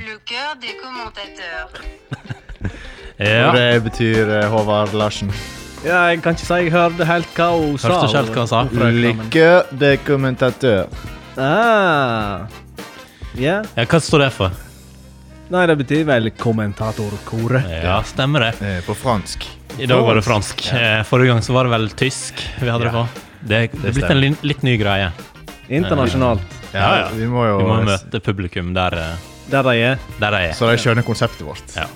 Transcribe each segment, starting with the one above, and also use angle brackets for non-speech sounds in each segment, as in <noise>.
des commentateurs. Ja. Og det betyr eh, Håvard Larsen. Ja, jeg kan ikke si jeg hørte helt hva hun sa. Hørte ikke helt hva han sa. Lykke dokumentatør. Ah. Ja. Ja, hva står det for? Nei, det betyr vel kommentatorkoret. Ja, stemmer det. Eh, På fransk. I dag var det fransk. Eh, Forrige gang så var det vel tysk vi hadde det på. Det det er blitt en lin- litt ny greie. Internasjonalt. Ja, ja. Vi må jo Vi må møte publikum der, eh, Der de er. der de er. Så de skjønner konseptet vårt. Ja.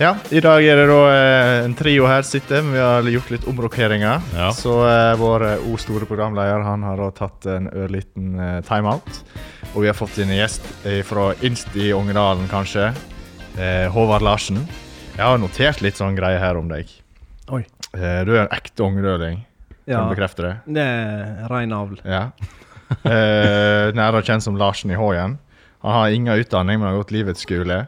Ja, I dag er det da eh, en trio her sitter. men Vi har gjort litt omrokeringer. Ja. Så eh, vår eh, O store programleder han har da tatt en ørliten eh, timeout. Og vi har fått inn en gjest eh, fra Inst i Ongedalen, kanskje. Eh, Håvard Larsen. Jeg har notert litt sånn greie her om deg. Oi. Eh, du er en ekte ongedøling. Kan Ja. du bekrefte det? Det er rein avl. Ja. <laughs> Eh, nærere kjent som Larsen i Hågen. Han har ingen utdanning, men har gått livets skole.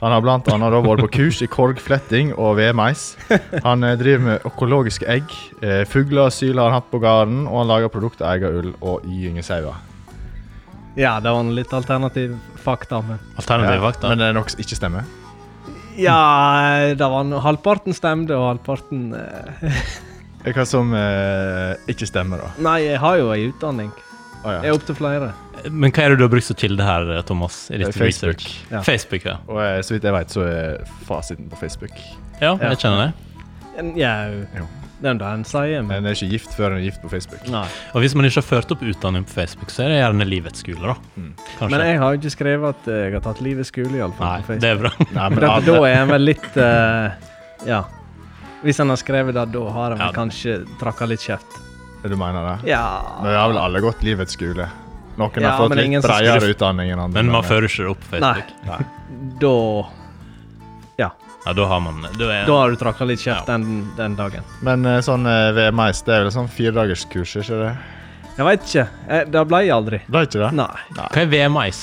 Han har blant annet da vært på kurs i korgfletting og vedmeis. Han eh, driver med økologiske egg. eh, Fugler og syl har han hatt på gården, og han lager produkter av egen ull og gyngesauer. Ja, det var en litt alternativ fakta, men Alternativ Ja, vakt, men da. det er nok ikke stemmer. Ja, det var en, halvparten stemte, og halvparten eh, <laughs> Hva som eh, ikke stemmer, da? Nei, jeg har jo ei utdanning. Å, Jeg ja. er opptil flere. Men hva er det du har brukt som kilde her, eh, Thomas? I ditt Det er Facebook. research? Ja. Facebook, ja. Og eh, så vidt jeg vet, så er fasiten på Facebook. Ja, Ja. jeg kjenner det. En- Jau. Jo. Det er jo det en sier, men Men en er ikke gift før en er gift på Facebook. Nei. Og hvis man ikke har ført opp utdanning på Facebook, så er det gjerne livets skole, da. Kanskje. Men jeg har jo ikke skrevet at eh, jeg har tatt livet i skole, iallfall. Nei, det er bra. Nei, Men da, da er en vel litt eh, Ja. Hvis en har skrevet det, da har en vel Ja. kanskje trakka litt kjeft. Du mener det? Ja. Men vi har vel alle gått livets skole. Noen Ja, har fått men ingen litt som bredere skulle- utdanning enn andre. Men man fører ikke det opp på Nei. Facebook. Da Ja. Ja, da har man da er, Da har du trakka litt kjeft den, den dagen. Men eh, sånn eh, VMS, det er vel sånn firedagerskurs, ikke det? Jeg veit ikke. Eh, Det ble jeg aldri. Det er ikke det? Nei. Hva er VMIs?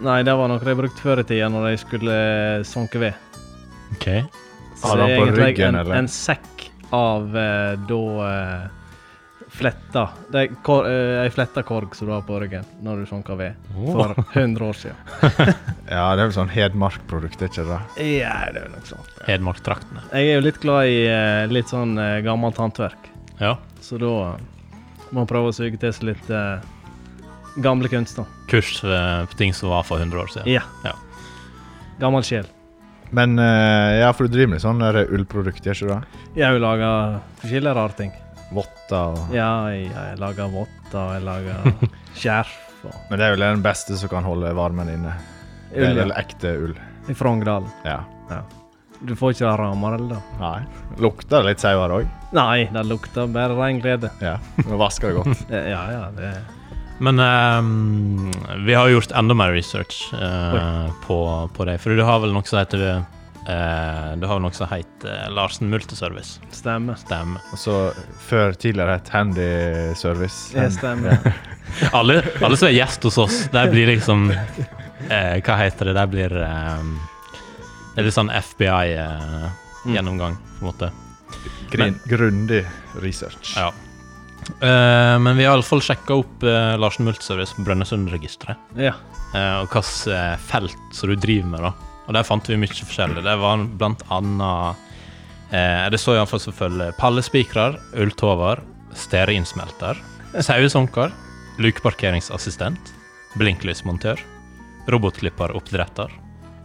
Nei, det var noe de brukte før i tida når de skulle sanke ved. Ok. Så Har det han er på egentlig ryggen, en, eller? en sekk av eh, da eh, fletta Det er kor, eh, ei fletta korg som du har på ryggen når du sanker ved for 100 år siden. Ja, det er vel sånn Hedmark-produkt, er ikke det? Ja, det er sånn. jo noe sånt. Hedmarktraktene. Jeg er jo litt glad i eh, litt sånn eh, gammelt håndverk, Ja. så da eh, må man prøve å suge til seg litt eh, gamle kunstner. Kurs eh, på ting som var for 100 år siden. Ja. Ja. Gammel sjel. Men eh, ja, for du driver med litt sånn der ullprodukt, er ikke det? Jeg har jo laga forskjellige rare ting. Votter og Ja, jeg lager votter, jeg <laughs> lager skjerf og Men det er vel den beste som kan holde varmen inne. Det er ull. vel ekte ull. ja. I Frogndalen. Ja. Du får ikke det rammer, eller? da? Nei. Lukter det litt sauer òg? Nei, det lukter bare ren glede. Ja. Nå vasker det <laughs> godt. Eh, Ja, ja, det Men eh, vi har gjort enda mer research eh, på, på det. For du har vel noe som heter eh, Du har vel noe som heter eh, Larsen Multiservice. stemmer. Stemmer. Og så før tidligere het Handy Service. Det stemmer. <laughs> Alle, alle som er gjest hos oss, de blir liksom eh, Hva heter det? De blir eh, Det er litt sånn FBI-gjennomgang, eh, på en måte. Grin, grundig research. Ja. Eh, men vi har iallfall sjekka opp eh, Larsen Multiservice på Brønnøysundregisteret. Ja. eh, og hvilket eh, felt som du driver med, da. Og der fant vi mye forskjellig. Det var blant annet eh, Det så iallfall som følger pallespikrer, ulltover, stearinsmelter, sauesanker, lukeparkeringsassistent, blinklysmontør, robotklipperoppdretter,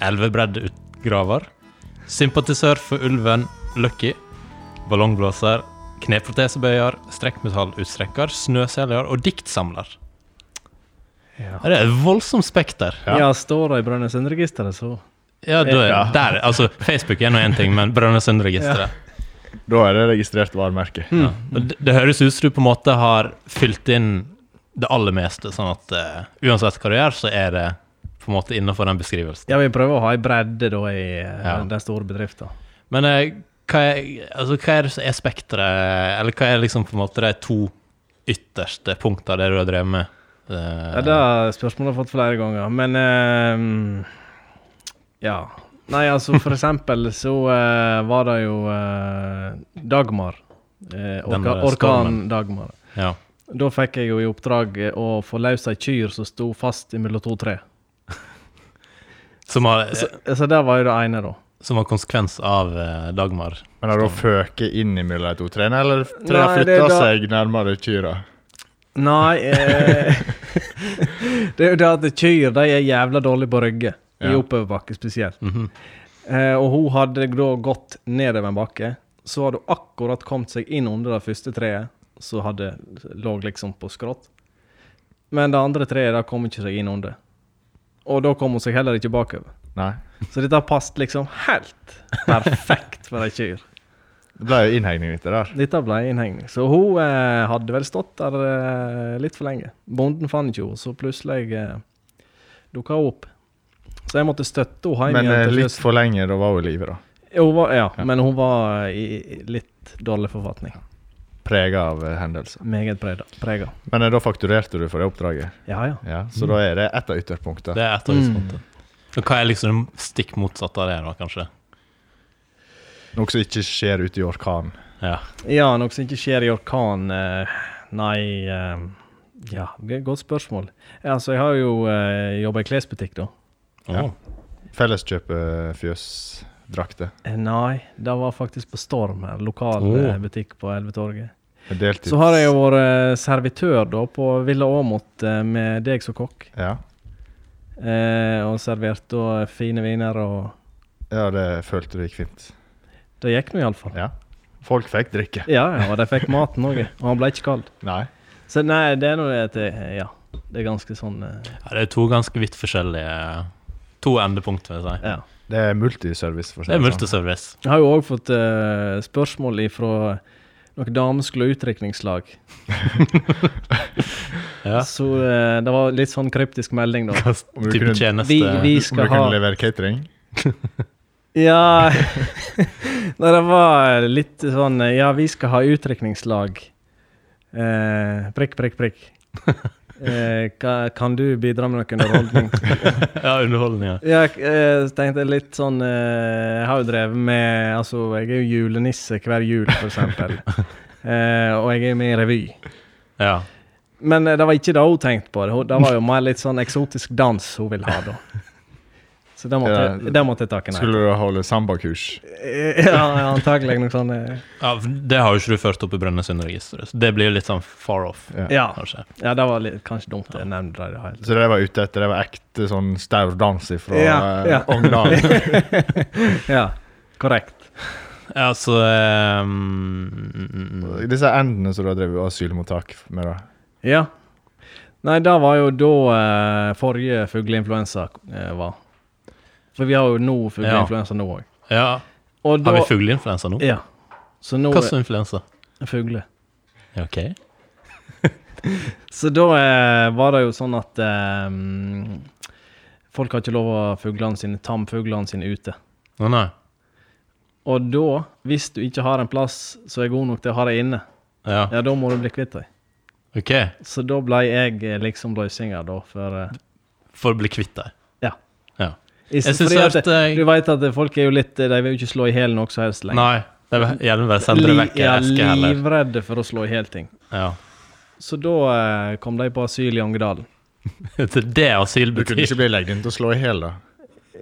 elvebreddeutgraver, sympatisør for ulven Lucky, ballongblåser, kneprotesebøyer, strekkmetallutstrekker, snøselger og diktsamler. Ja. Ja, Det er et voldsomt spekter. Ja. ja, står det i Brønnøysundregisteret, så Ja, da, Ja. Der, altså, Facebook er nå én ting, men Brønnøysundregisteret Da er det registrert varemerke. ja. Mm. Og det, det høres ut som du på en måte har fylt inn det aller meste, sånn at eh, uansett hva du gjør, så er det på en måte innenfor den beskrivelsen. Ja, vi prøver å ha ei bredde da i eh, Ja. den store bedriften. Men eh, hva er, altså, hva er det som er spekteret, eller hva er liksom på en måte de to ytterste punktene der du har drevet med? Eh, Ja, det har spørsmålet fått flere ganger, men eh, Ja. Nei, altså, for <laughs> eksempel så eh, var det jo eh, Dagmar. Eh, Den orka, orkan stormen. Dagmar. ja. Da fikk jeg jo i oppdrag eh, å få løs ei kyr som sto fast mellom to tre. Som har, Så, så det var jo det ene, da. som har konsekvens av eh, Dagmar. Men har hun føket inn i mellom de to trærne, eller trærne Nei, det er flytta da- seg nærmere kyrne? Nei eh, Det er jo det at kyr de er jævla dårlige på å rygge. I Ja. oppoverbakke spesielt. Mhm. Eh, og hun hadde da gått nedover en bakke. Så hadde hun akkurat kommet seg inn under det første treet, så hadde lå liksom på skrått. Men det andre treet da kom ikke seg inn under. Og da kom hun seg heller ikke bakover. Nei. Så dette har passet liksom helt perfekt for ei kyr. Det ble jo innhegning, dette der. Dette ble innhegning. Så hun eh, hadde vel stått der eh, litt for lenge. Bonden fant ikke henne, så plutselig eh, dukka hun opp. Så jeg måtte støtte henne hjem Men eh, igjen. til litt sjøs. for lenge, da var hun i live, da. Hun var, ja, Ja. men hun var i i litt dårlig forfatning. Prega av eh, hendelser. Meget preda- prega. Men eh, da fakturerte du for det oppdraget, Ja, ja. ja, så da er det ett av ytterpunktene. Det er et av Mm. utgangspunktet. Og Hva er liksom stikk motsatt av det, da, kanskje? Noe som ikke skjer ute i orkanen. Ja. Ja, noe som ikke skjer i orkan. eh, Nei eh, Ja, det er et godt spørsmål. Ja, altså, jeg har jo eh, jobba i klesbutikk, da. Åh. eh, Felleskjøpefjøsdrakter. Eh, Nei, det var faktisk på Storm her. Lokal Åh. Oh. eh, butikk på Elvetorget. Deltids. Så har jeg jo vært servitør da på Villa Åmot eh, med deg som kokk. Ja. Eh, og servert da fine viner, og ja, det følte du gikk fint. det gikk nå iallfall. Ja. Folk fikk drikke. Ja, ja, og de fikk maten òg, og han ble ikke kald. Nei. Så nei, det er noe at det, Ja. Det er ganske sånn eh, Ja, det er to ganske vidt forskjellige To endepunkt, vil jeg si. Ja. Det er multiservice. for å si Det er sånn. multiservice. Jeg har jo òg fått eh, spørsmål ifra noen damer skulle ha utdrikningslag. Ja. Så eh, det var litt sånn kryptisk melding, da. Hva Om du type kunne- tjeneste Vi, vi Om du skal ha kunne levere catering? Ja <laughs> Nei, det var litt sånn eh, Ja, vi skal ha utdrikningslag. Eh, prikk, prikk, <laughs> prikk. Eh, ka- kan du bidra med noen underholdning? <laughs> Ja, underholdning, ja. Ja, k- eh, så tenkte jeg litt sånn eh, Jeg har jo drevet med Altså, jeg er jo julenisse hver jul, for <laughs> eksempel. Eh, og jeg er med i revy. ja. Men eh, det var ikke det hun tenkte på. Det hun- det var jo mer litt sånn eksotisk dans hun ville ha, da. Så det måtte, Ja. jeg- det måtte jeg takke nei Skulle du holde sambakurs? til. <laughs> Ja, antagelig noe sånn eh, ja for det har jo ikke du ført opp i Brønnøysundregisteret, så det blir jo litt sånn far off, Ja. Ja, kanskje. ja det var litt, kanskje dumt jeg nevnte det. altså. i det hele tatt. Så det jeg var ute etter, det var ekte sånn staurdans fra Ja, ja. Ogndal? Ja, korrekt. Ja, så eh, mm, mm, <laughs> Disse endene som du har drevet asylmottak med, da. Ja. Nei, det var jo da eh, forrige fugleinfluensa eh, var. For vi har jo nå fugleinfluensa nå òg. Ja, Og da har vi fugleinfluensa nå? Ja. Så nå Hva slags influensa? Fugle. Ja, OK. Så da eh, var det jo sånn at eh, mm, Folk har ikke lov å ha fuglene sine, tamfuglene sine ute. Å nei. Og da, hvis du ikke har en plass som er god nok til å ha deg inne, Ja, ja, da må du bli kvitt dem. OK. Så da ble jeg eh, liksom løsninga, da, for eh, For å bli kvitt deg. Ja. Ja. i- Jeg syns fordi at at eh, Du veit at folk er jo litt De vil jo ikke slå i hjel noe som helst lenger. Nei, det er gjerne bare sende det vekk i ja, eske heller. livredde for å slå i hjel ting. Ja. <laughs> Så da eh, kom de på asyl i Angedalen. Til det asyl Du kunne betyr. ikke bli lagt inn til å slå i hjel, da.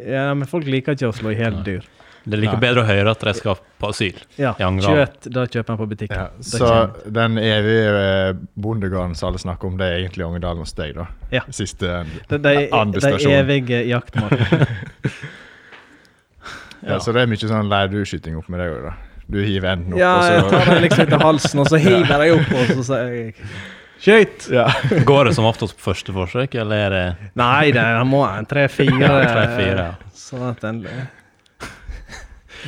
Ja, men folk liker ikke å slå i hjel dyr. Det er like Nei. bedre å høre at de skal på asyl. Ja, I Angedalen. kjøtt, da kjøper en på butikken. Ja, Det så kjenner den evige eh, bondegården som alle snakker om, det er egentlig Ogndalen hos deg, da? Ja. Siste end. jeg. De, de, de Andestasjon. evige <laughs> jaktmarkene. Ja. Ja. så det er mye sånn leirskyting opp med deg òg, da. Du hiver enden opp, ja, og jeg så <laughs> tar dem liksom etter halsen, og så hiver jeg opp, og så sier jeg Skyt! ja. Går det som oftest på første forsøk, eller er det Nei, det er- han må en tre-fire. Ja, tre-fire, ja. Sånn at den Det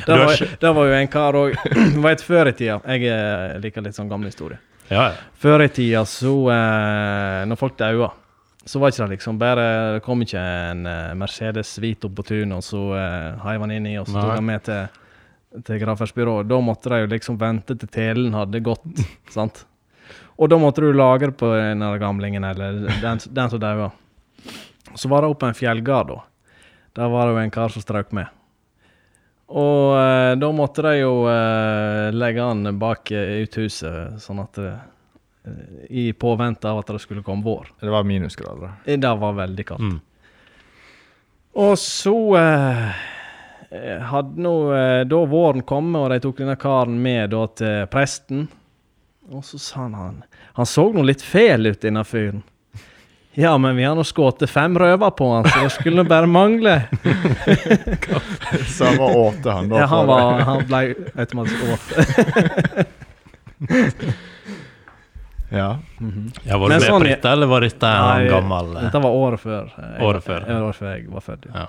Du har var, ikke- det var jo en kar <clears throat> òg Veit, før i tida Jeg eh, liker litt sånn gamle historier. Ja, ja. Før i tida så eh, Når folk daua, så var ikke det liksom bare Det kom ikke en eh, Mercedes Vito på tunet, og så eh, heiv han inn i, og så Nei. tok han med til, til gravferdsbyrået. Da måtte de jo liksom vente til telen hadde gått, sant? Og da måtte du lagre på den der gamlingen, eller den, den som daua. Så var det oppe en fjellgard, da. Der var det jo en kar som strøk med. Og eh, da måtte de jo eh, legge han bak eh, uthuset, sånn at eh, i påvente av at det skulle komme vår. Det var minusgrader, da. Det var veldig kaldt. Mm. Og så eh, hadde nå eh, da våren kommet, og de tok denne karen med da til presten. Og så sa han han, han så nå litt fæl ut, denne fyren. Ja, men vi har nå skutt fem røver på han, så det skulle bare <laughs> mangle. Så han var åte, han da. Ja, han, for- var, han ble automatisk åt. <laughs> Ja. Ja, var Men du med sånn- på dette, eller var dette en Nei, gammel eh, Dette var året før. eh, jeg- Året før. eh, Året før jeg var født. ja. Ja.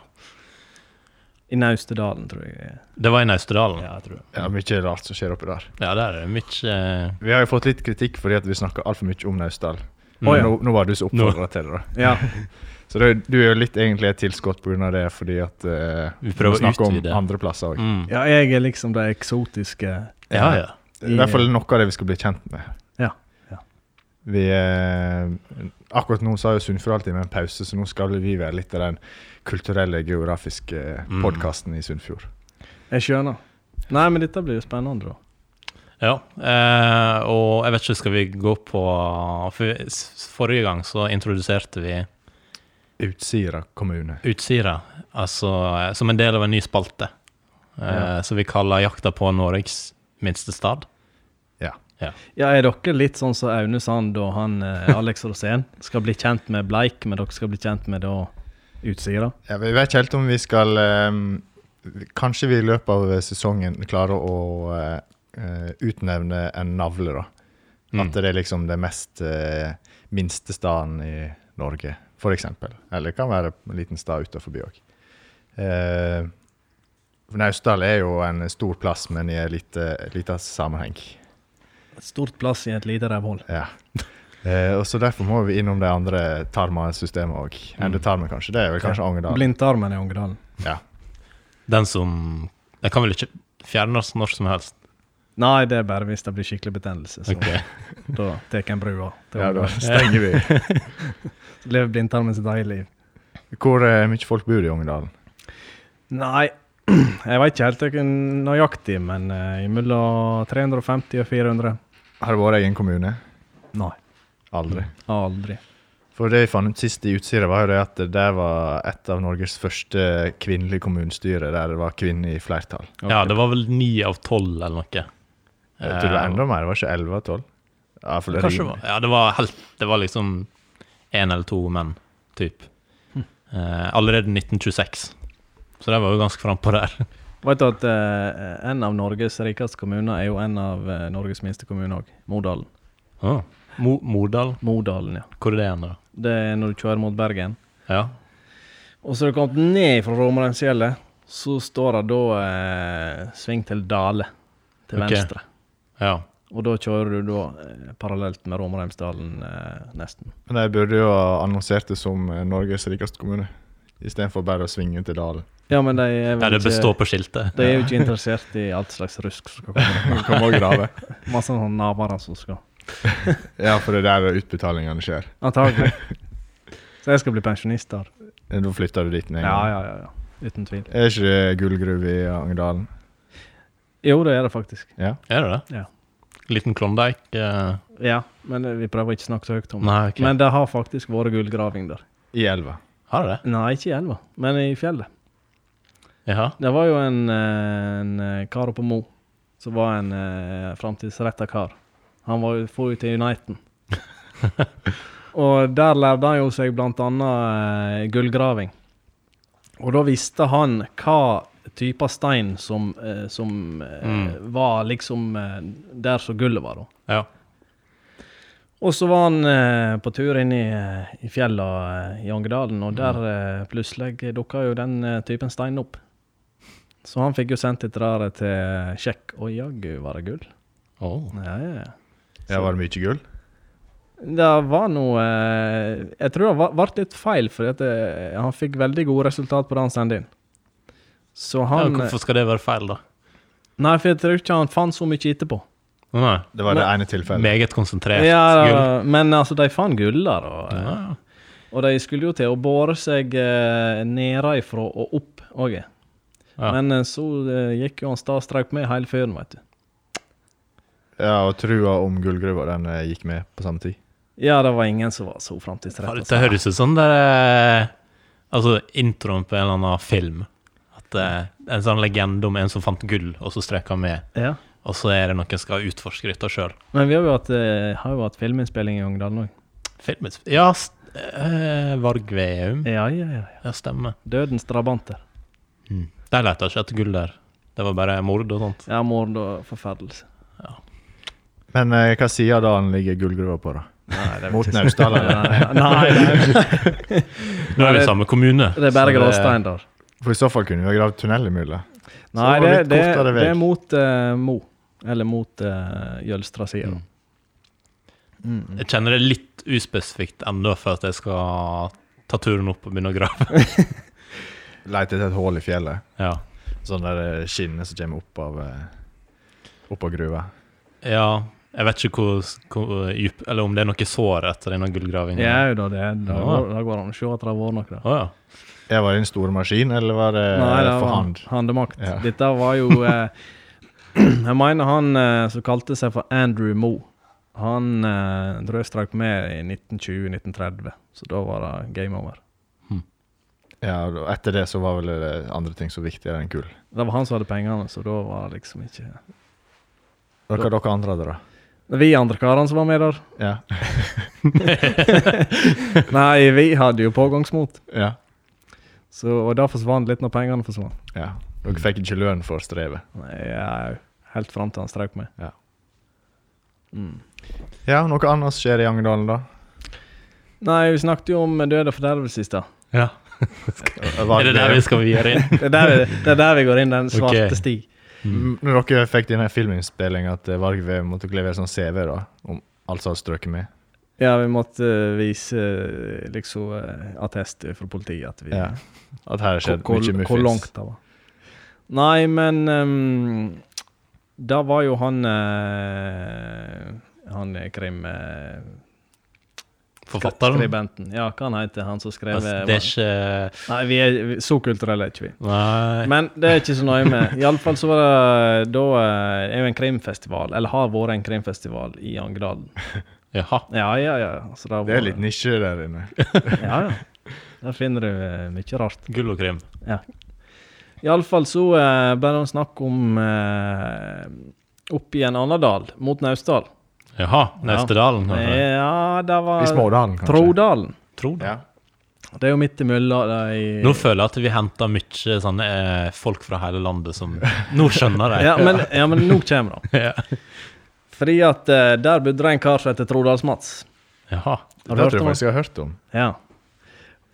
I Naustedalen, tror jeg. Det var i Naustedalen? Ja, jeg tror det. ja, mye rart som skjer oppi der. Ja, der er det mye eh, Vi har jo fått litt kritikk fordi at vi snakker altfor mye om Naustdal. Mm. Å, ja. nå, nå var du så oppfordra til det, da. Ja. Så det, du er jo litt egentlig et tilskudd pga. det, fordi at eh, Vi prøver å snakker om utvide. andre plasser òg. mm. ja, jeg er liksom det eksotiske Ja, ja. I hvert fall noe av det vi skal bli kjent med. Ja, ja. Vi, eh, akkurat nå så har jo Sunnfjord alltid med en pause, så nå skal vi være litt av den kulturelle, geografiske Mm. podkasten i Sunnfjord. Jeg skjønner. Nei, men dette blir jo spennende, da. ja. Eh, og jeg vet ikke, skal vi gå på For s- forrige gang så introduserte vi Utsira kommune. Utsira, altså eh, som en del av en ny spalte. Eh, Ja. Som vi kaller 'Jakta på Norges minste stad'. Ja, Er dere litt sånn som Aune Sand og han <laughs> eh, Alex Rosén? Skal bli kjent med Bleik, men dere skal bli kjent med da Utsira? Ja, vi vet ikke helt om vi skal ehm, vi- Kanskje vi i løpet av sesongen klarer å eh, eh, utnevne en navle, da. Mm. At det er liksom det mest eh, minste staden i Norge, f.eks. Eller det kan være en liten stad utenfor òg. Uh, Naustdal er jo en stor plass, men i en lite, lite sammenheng. Et stort plass i et lite revhold. Ja. Eh, og så Derfor må vi innom de andre tarmasystemene òg. Endetarmen, kanskje. Det er vel kanskje Angerdal. Blindtarmen i Ongedalen. Ja. Den som Den kan vel ikke fjernes når som helst? Nei, det er bare hvis det blir skikkelig betennelse. Så Ok. <laughs> da tar en brua. til ja, da Ongedalen. stenger vi. Lever blindtarmen sitt eget liv. Hvor eh, mye folk bor i Ungedalen? Nei, <clears throat> jeg veit ikke helt jeg nøyaktig, men eh, mellom 350 og 400. Har det vært egen kommune? Nei, Aldri. aldri. For det jeg fant ut sist i Utsira, var jo det at det var et av Norges første kvinnelige kommunestyre der det var kvinner i flertall. Ja, det var vel ni av tolv eller noe. Jeg tror det var enda mer, det var ikke 11 av 12? Ja, for det Kanskje det rimer. var, ja, det var, helt, det var liksom én eller to menn, typ. Hm. Eh, allerede 1926. Så de var jo ganske frampå der. Vet du at eh, en av Norges rikeste kommuner er jo en av eh, Norges minste kommuner òg. Modalen. Mo Mordal, Modalen, ja. hvor er det igjen, da? Det er når du kjører mot Bergen. Ja. Og så har du kommet ned fra Romerheimsfjellet, så står det da eh, sving til Dale, til Ok. venstre. ja. Og da kjører du da eh, parallelt med Romerheimsdalen, eh, nesten. Men de burde jo ha annonsert det som eh, Norges rikeste kommune, istedenfor bare å svinge til dalen. Ja, men de er ja. Det vel består ikke på skiltet. de er jo ikke interessert i alt slags rusk som skal komme. Man kan også grave. Masse sånne naboer som skal Ja, for det er der utbetalingene skjer. Antagelig. <laughs> Så jeg skal bli pensjonist der. Eh, Da flytter du dit med en Ja, gang. ja, ja. ja. Uten tvil. Er ikke det gullgruve i Angerdalen? Jo, det er det faktisk. Ja. Er det det? Ja. Liten Klondyke? eh, Ja, men eh, vi prøver ikke å snakke så høyt om det. Nei, ok. Men det har faktisk vært gullgraving der. I elva. Har det det? Nei, ikke i elva, men i fjellet. Jaha. Det var jo en, eh, en eh, kar oppe på Mo som var en eh, framtidsretta kar. Han var jo for jo til <laughs> Uniten. og der lærte han jo seg blant annet eh, gullgraving. Og da visste han hva type stein som, eh, som eh, Mm. var liksom eh, der som gullet var, da. Ja. Og så var han eh, på tur inn i, eh, i fjella eh, i Angedalen, Mm. og der eh, plutselig dukka jo den eh, typen stein opp. Så han fikk jo sendt dette der til eh, sjekk, og jaggu var det gull. Oh. Ja, ja, ja. Ja, var det mye gull? Det var noe eh, Jeg tror det var- ble litt feil, for at eh, han fikk veldig gode resultat på det han sendte inn. Så Ja, han eh, hvorfor skal det være feil, da? Nei, for jeg tror ikke han fant så mye etterpå. Nei. Det var det Nei. ene tilfellet. Meget konsentrert gull. Ja, men altså, de fant gull der, og eh, Ja. Og de skulle jo til å bore seg eh, nedenfra og opp òg. Ja. Men eh, så eh, gikk jo han starstreik med hele fyren, veit du. Ja, og trua om gullgruva den eh, gikk med på samme tid. Ja, det var ingen som var så altså. Ja, framtidsrettet. Dette høres ut som det er Altså introen på en eller annen film. At eh, En sånn legende om en som fant gull, og så streker han med. Ja. Og så er det noen som skal utforske dette sjøl. Men vi har jo hatt, eh, har jo hatt filminnspilling i Ungdalen òg. Ja, st eh, Varg Veum. Ja, ja, ja. ja. Mm. Ja, stemmer. Dødens drabanter. De leter ikke etter gull der. Det var bare mord og sånt. Ja, mord og forferdelse. Men eh, hva sida da han ligger gullgruva på, da? Nei, det Mot Naustdal, eller? <laughs> Nei, nei, Nå er vi det- i samme kommune. det er bare så gråstein der. For i så fall kunne vi ha gravd tunnel i mulla. Nei, Så det, litt det, kortere vei. det er mot eh, Mo. Eller mot uh, Jølstra-sida. Mm. Jeg kjenner det litt uspesifikt ennå for at jeg skal ta turen opp og begynne å grave. <laughs> Leit etter et hull i fjellet. Ja. Sånn der eh, skinne som kommer opp av eh, opp av gruva. ja. Jeg vet ikke hvor, hvor dyp Eller om det er noe sår etter denne gullgravingen. Ja, jo da, det, da, Mm. Ja. går, da går det an å se at det har vært noe Å der. ja. Jeg var det en stor maskin, eller var det, Nei, det Eh, for var hand? handemakt. Ja. <laughs> Dette var jo eh, <clears throat> Jeg mener han eh, som kalte seg for Andrew Moe. Han eh, drøstrakk med i 1920-1930, så da var det game over. Ja, og Etter det så var vel det andre ting så viktigere enn gull. Det var han som hadde pengene, så da var det liksom ikke Hva hva dere andre hadde, da? Det var Vi andre karene som var med <laughs> der. Ja. Nei, vi hadde jo pågangsmot, ja. så, og det forsvant litt når pengene forsvant. ja. Dere fikk ikke lønn for strevet. Nei, jeg, helt fram til han strøk meg. Ja. Mm. Ja, noe annet skjer i Angedalen, da? Nei, vi snakket jo om død og fordervelse i stad. ja. Er det der vi skal videre <laughs> inn? Det er der vi- det er der vi går inn <laughs> den svarte Ok. sti. Mm, Når dere fikk denne filminnspillingen at eh, Varg Veum måtte levere sånn CV, da, om alt som hadde strøket med Ja, vi måtte eh, vise eh, liksom eh, attest fra politiet at vi ja. At her har hvor, skjedd mye hvor, hvor langt muffins. det var. Nei, men um, da var jo han eh, Han eh, krim... eh, Forfatteren? Skribenten. Ja, hva han heter han som skrev eh, Altså, det er ikke Nei, vi er vi, så kulturelle er ikke vi. Nei. Men det er ikke så nøye <laughs> med. Iallfall så var det da eh, er jo en krimfestival, eller har vært en krimfestival i Angedalen. Jaha. Ja, ja, ja. Så da Det var- er litt nisje der inne. Ja, ja. Der finner du eh, mye rart. Gull og krim. Iallfall så eh, ble det snakk om eh, opp i en annen dal, mot Naustdal. Eh, Jaha. Naustedalen, kanskje? <laughs> Ja, det I var Smådalen, kanskje. Trodalen. Tror det. Ja. Det er jo midt imellom de Nå føler jeg at vi henter mye sånne eh, folk fra hele landet som Nå skjønner jeg. ja, men, ja, men nå kommer det. <laughs> Ja. Fordi at eh, der bodde det en kar som heter Trodals-Mats. Jaha. Det Har tror du hørt jeg om han? faktisk jeg har hørt om. Ja.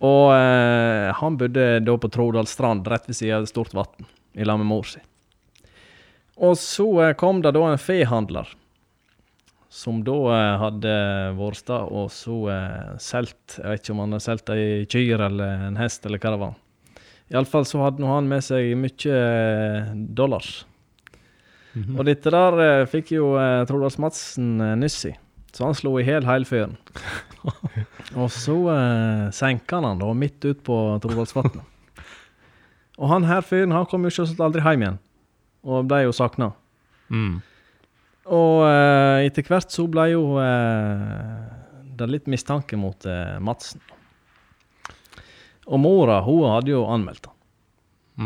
Og eh, han bodde da på Trodalstrand, rett ved siden av et stort vann, i lag med mor si. Og så eh, kom det da en fehandler, som da eh, hadde vært der og så eh, solgt Jeg vet ikke om han hadde solgt ei kyr eller en hest eller hva det var. Iallfall så hadde nå han med seg mye eh, dollars. Og dette der eh, fikk jo eh, Trodals Madsen eh, nyss i, så han slo i hjel hele fyren. Og så eh, senka han han da midt ut på Trodalsvatnet. og han her fyren han kom jo selvsagt aldri hjem igjen, og ble jo sakna. Mm. Og eh, etter hvert så ble jo eh, det litt mistanke mot eh, Madsen. Og mora hun hadde jo anmeldt han.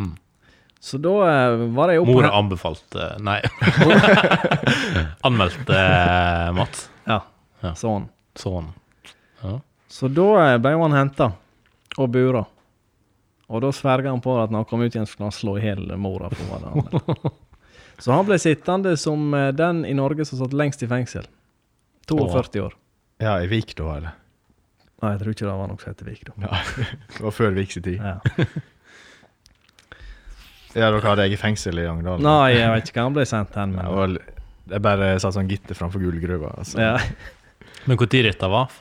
Mm. Så da eh, var det jo Mora anbefalte eh, <laughs> Nei. Anmeldte eh, Mats. Ja, Ja. sånn. Sånn. Ja. Så da eh, ble jo han henta og bura. Og da sverga han på at når han kom ut igjen, skulle han slå i hjel mora. For hva det handlet <laughs> om. så han ble sittende som eh, den i Norge som satt lengst i fengsel. 42 år. Ja, i Vik da, eller? Nei, jeg tror ikke det var noe som het Vik, da. Det var før Viks tid. Ja. Ja, dere hadde eget fengsel i Angedalen. <laughs> Nei, jeg vet ikke hva han ble sendt hen, Ja, men og jeg bare satt sånn gitter framfor gullgruva. Altså. ja. Men når dette var?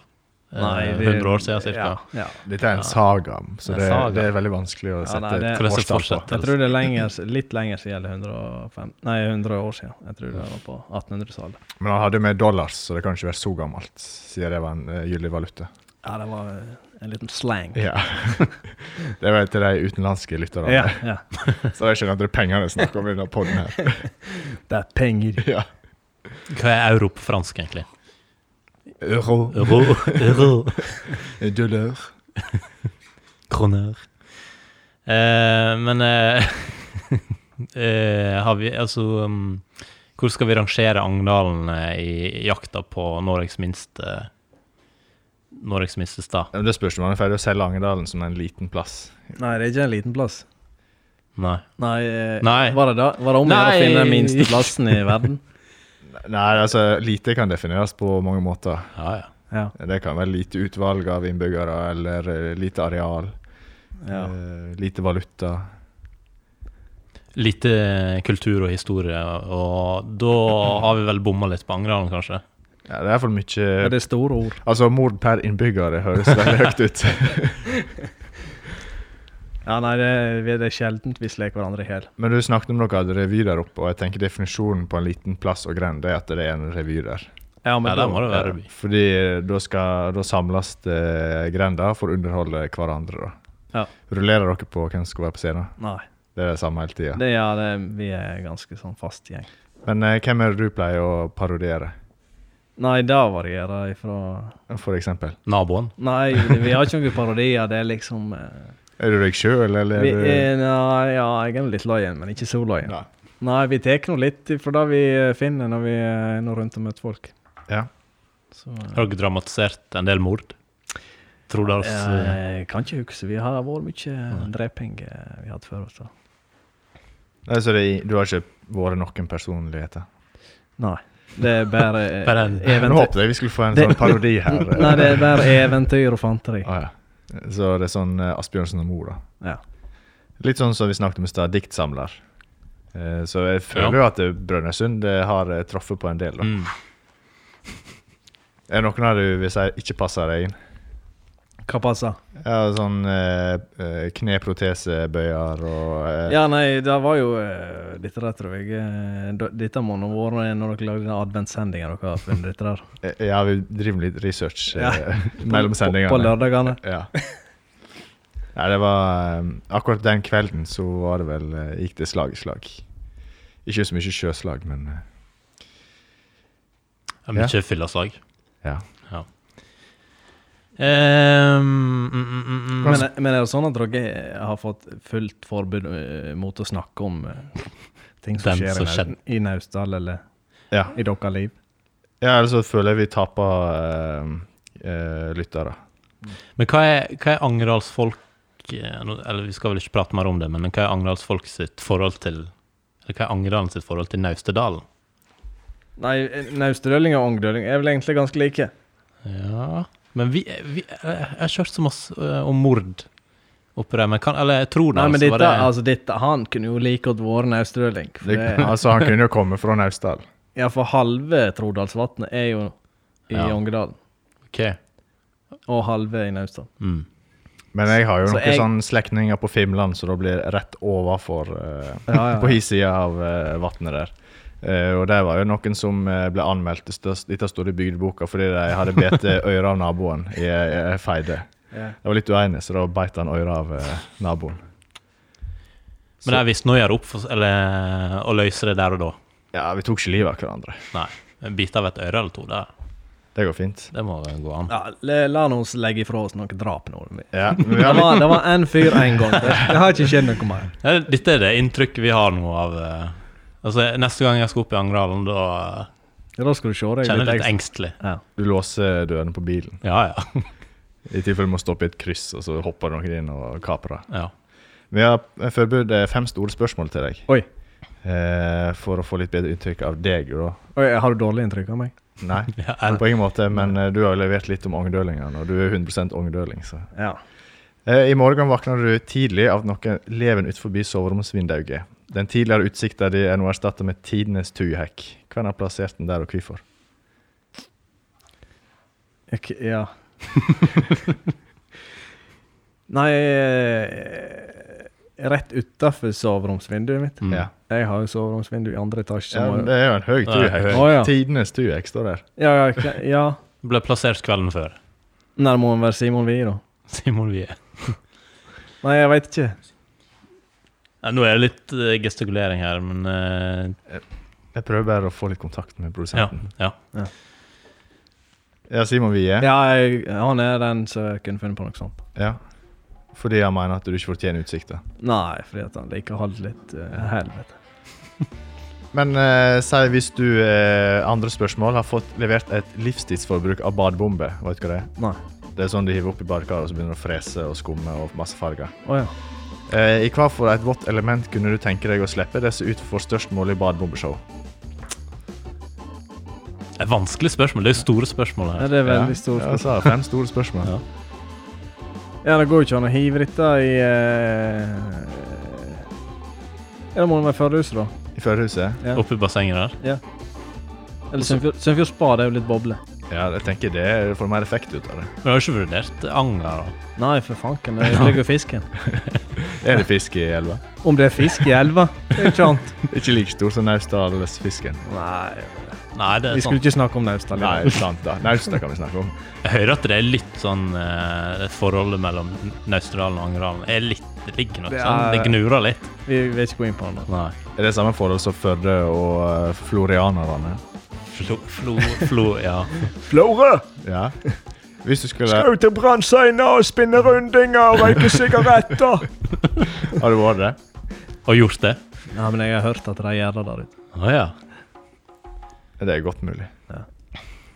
Eh, Nei, det- 100 år siden cirka? Ja, ja. Dette er en saga, så En det, saga. det er veldig vanskelig å Ja, sette nei, det- et Hvordan årstall på. fortsetter? Jeg tror det er lenger, litt lenger siden, eller 105 Nei, 100 år siden. Jeg tror det var på 1800-tallet. Men han hadde med dollars, så det kan ikke være så gammelt, siden det var en eh, gyldig valuta. Ja, det var eh, en liten slang. Ja. <laughs> det var til de utenlandske lytterne. Ja, ja. <laughs> Så jeg skjønner at det er penger det er snakk om i denne podden <laughs> her. Det er penger. Ja. Hva er euro på fransk, egentlig? Euro, Euro. euro. dollar kroner. Eh, men eh, <laughs> eh, har vi Altså um, Hvor skal vi rangere Agndalen eh, i jakta på Norges minste Norges minste stad? Men Det spørs om han er ferdig å selge Angerdalen som en liten plass. Nei, det er ikke en liten plass. Nei. Nei, eh, Nei. Var det da? Var det om å gjøre å Nei. finne den minste plassen i verden? Nei, altså, lite kan defineres på mange måter. Ja, ja. <laughs> Ja. Det kan være lite utvalg av innbyggere, eller eh, lite areal, ja. eh, lite valuta. Lite eh, kultur og historie, og da har vi vel bomma litt på Angerdalen, kanskje? Ja, det er iallfall Ja, mye det er store ord. Altså, mord per innbygger det høres <laughs> veldig høyt ut. Ja, nei, det, vi- det er sjeldent vi sleker hverandre i hjel. Men du snakket om noe revy der oppe, og jeg tenker definisjonen på en liten plass og grend det er at det er en revy der. Ja, Ja, der må det være Ja, Eh, Fordi da skal da samles eh, grenda for å underholde hverandre, da. Ja. Rullerer dere på hvem som skal være på scenen? Nei. Det er det samme hele tida. Det, ja, det, vi er ganske sånn fast gjeng. Men eh, hvem er det du pleier å parodiere, Nei, det varierer ifra for eksempel? Naboen? Nei, vi har ikke noen parodier. Det er liksom eh, Er du deg sjøl, eller vi, er du eh, Nei, ja, jeg er nå litt løyen, men ikke så løyen. Nei. Nei, vi tar nå litt fra det vi eh, finner når vi eh, er nå rundt og møter folk. Ja. Så, eh, Har dere dramatisert en del mord? Tror dere eh, jeg kan ikke huske. Vi har vært mye dreping eh, vi hadde før oss. da. Nei, så det, du har ikke vært noen personligheter? Nei. Det er bare eh, Bare en- Nå eventyr. håpet jeg vi skulle få en Det- sånn parodi <laughs> her. eh. Nei, det er bare eventyr og fanteri. Ah, ja. Så det er sånn eh, Asbjørnsen og Moe, da. Ja. Litt sånn som vi snakket om i stad, diktsamler. Eh, Så jeg føler jo at eh, Brønnøysund eh, har eh, truffet på en del. da. mm. Er det noen av du vil si ikke passer deg inn? Hva passer? Ja, Sånn eh, eh, kneprotesebøyer og eh, Ja, nei, det var jo eh, Dette der, tror jeg eh, da- Dette må nå være når dere lagde den adventssendinga dere har funnet dette <laughs> der. eh, Ja, vi driver med litt research eh, <laughs> Ja. mellom På, på sendingene. lørdagene. Ja. Nei, det var eh, Akkurat den kvelden så var det vel eh, Gikk det slag i slag. Ikke så mye sjøslag, men eh, Det er Mye fylleslag. ja. Ja. Ehm, mm, mm, mm, mm. Men, men er det sånn at dere har fått fullt forbud eh, mot å snakke om eh, ting som Den skjer i som Nau- i Naustdal eller ja. i deres liv? Ja, ellers så føler jeg vi taper eh, eh, lyttere. Men hva er, hva er Angerdalsfolk eh, nå- Eller vi skal vel ikke prate mer om det, men hva er Angerdalsfolk sitt forhold til Eller hva er Angerdalen sitt forhold til Naustedalen? Nei, eh, naustdøling og ongdøling er vel egentlig ganske like. Ja Men vi, eh, vi Jeg har kjørt så masse eh, om mord oppi der, men kan Eller jeg tror det, Nei, men altså, var dette, det- altså, dette Han kunne jo like godt vært naustdøling. for Det, det- altså, han kunne jo komme fra Naustdal. Ja, for halve Trodalsvatnet er jo i Ja. Ongedalen, Ok. og halve i Naustdal. Mm. Men jeg har jo Så noen jeg- sånn slektninger på Fimland, så da blir jeg rett overfor eh, Ja, <laughs> ja, <laughs> På ja. hi sida av eh, vatnet der. Eh, og det var jo noen som eh, ble anmeldt til størst, dette står i bygdeboka fordi de hadde bitt øret av naboen i ei feide. Ja. Jeg var litt uenig, så da beit han øret av eh, naboen. Men Så- det er visst nå å gjøre opp for Eller eh, å løse det der og da. Ja, vi tok ikke livet av hverandre. Nei. En bit av et øre eller to, det, Det går fint. det må vel gå an. Ja, le- la nå oss legge ifra oss noe drap nå. Ja, men vi Det har litt, var, det var en fyr en gang. Det det har ikke skjedd noe mer. Ja, Dette er det inntrykket vi har nå av eh, Altså, Neste gang jeg skal opp i Angerdalen, da Ja, Da skal du se eh, deg kjenner jeg litt litt ekstra. engstelig. Ja. du låser dørene på bilen. Ja, ja. <laughs> I tilfelle du må stoppe i et kryss, og så hopper noen inn og kaprer det. ja. Vi har forberedt eh, fem store spørsmål til deg, Oi, eh, for å få litt bedre inntrykk av deg. da. Oi, har du dårlig inntrykk av meg? Nei, ja er, på ingen måte, men eh, du har jo levert litt om ungdølingene, og du er 100 ungdøling. så. Ja. Eh, I morgen våkner du tidlig av noe leven utenfor soveromsvinduet. Den tidligere utsikta di er nå erstatta med tidenes tujehekk. Hvem har plassert den der, og hvorfor? Ok, ja. <laughs> Nei eh, Rett utafor soveromsvinduet mitt. Mm. Ja. Jeg har jo soveromsvindu i andre etasje. Ja, som men har- det er jo en høy Det er tujehekk. høy. Å, ja. Tidenes tujehekk står der. Ja, ja, ok, ja. Ble plassert kvelden før. <laughs> Nei, det må være Simon Wie, da. Simon Wie. Nei, jeg veit ikke. Ja, nå er det litt eh, gestikulering her, men eh, Jeg prøver bare å få litt kontakt med ja, produsenten. ja. Ja, Simon Wie. Ja, jeg, han er den som kunne funnet på noe sånt. Ja. Fordi han mener at du ikke fortjener utsikter. Nei, fordi at han liker å ha det litt eh, helvete. Men eh, si hvis du eh, andre spørsmål har fått levert et livstidsforbruk av badebombe. Vet du hva det er? Nei. Det er sånn du hiver opp i badekaret og så begynner det å frese og skumme og masse farger. Å ja. Eh, I hva for et vått element kunne du tenke deg å slippe det som utfor størst mulig badebombeshow? Det er vanskelig spørsmål. Det er jo store spørsmål ja. her. Det er veldig Ja, stort. Ja, så er det fem store spørsmål. Ja. Ja, det går jo ikke an å hive dette i eh, Ja, det må det være førerhuset, da. I førerhuset? Ja. Oppe i bassenget der. Eller Sunnfjord Sunnfjord spa, det er jo litt boble. Ja, jeg tenker det får mer effekt ut av det. Men du har jo ikke vurdert anger, da? Nei, for fanken, <laughs> det ødelegger jo fisken. Er det fisk i elva? Om det er fisk i elva, det er ikke annet. Ikke like stor som Naustdalsfisken. Nei, Nei, det er vi skulle sant. ikke snakke om Naustdal. i dag. Nei, sant da. Naustdal kan vi snakke om. sånn- Jeg hører at det er litt sånn eh, det Forholdet mellom Naustdalen og Angerdalen er litt Det ligger noe Det sånn. er- Det gnurer litt. Vi vil ikke gå inn på den. da. Nei. Er det samme forhold som Førde og eh, florianerne? Flo, flo, flo Ja. Flore, Ja. Hvis du skulle skal du til brannsteiner og spinne rundinger og røyke sigaretter? Har du vært det? Og gjort det? Nei, men jeg har hørt at de gjør det der ute. Å ja. Det er godt mulig. Ja.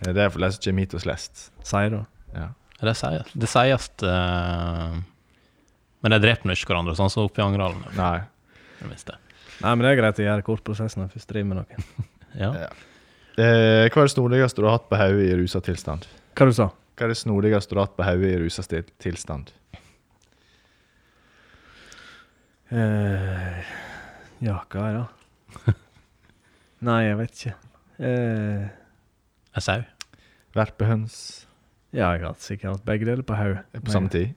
Eh, Det er for de som kommer hit og slest. Sier du? Ja. Det sies. Det sies eh, Men de dreper nå ikke hverandre, sånn som oppe i Angerdalen. i Nei. det minste. Nei, men det er greit å gjøre kort prosess når jeg først driver med noe. Ja. Eh, hva er det snodigste du har hatt på hodet i rusa tilstand? Hva du sa Hva er det snodigste du har hatt på hodet i rusa stil- tilstand? Eh, ja, hva er det? Nei, jeg vet ikke. Eh, En sau. Verpehøns ja, jeg har hatt sikkert hatt begge deler på hodet. på samme tid?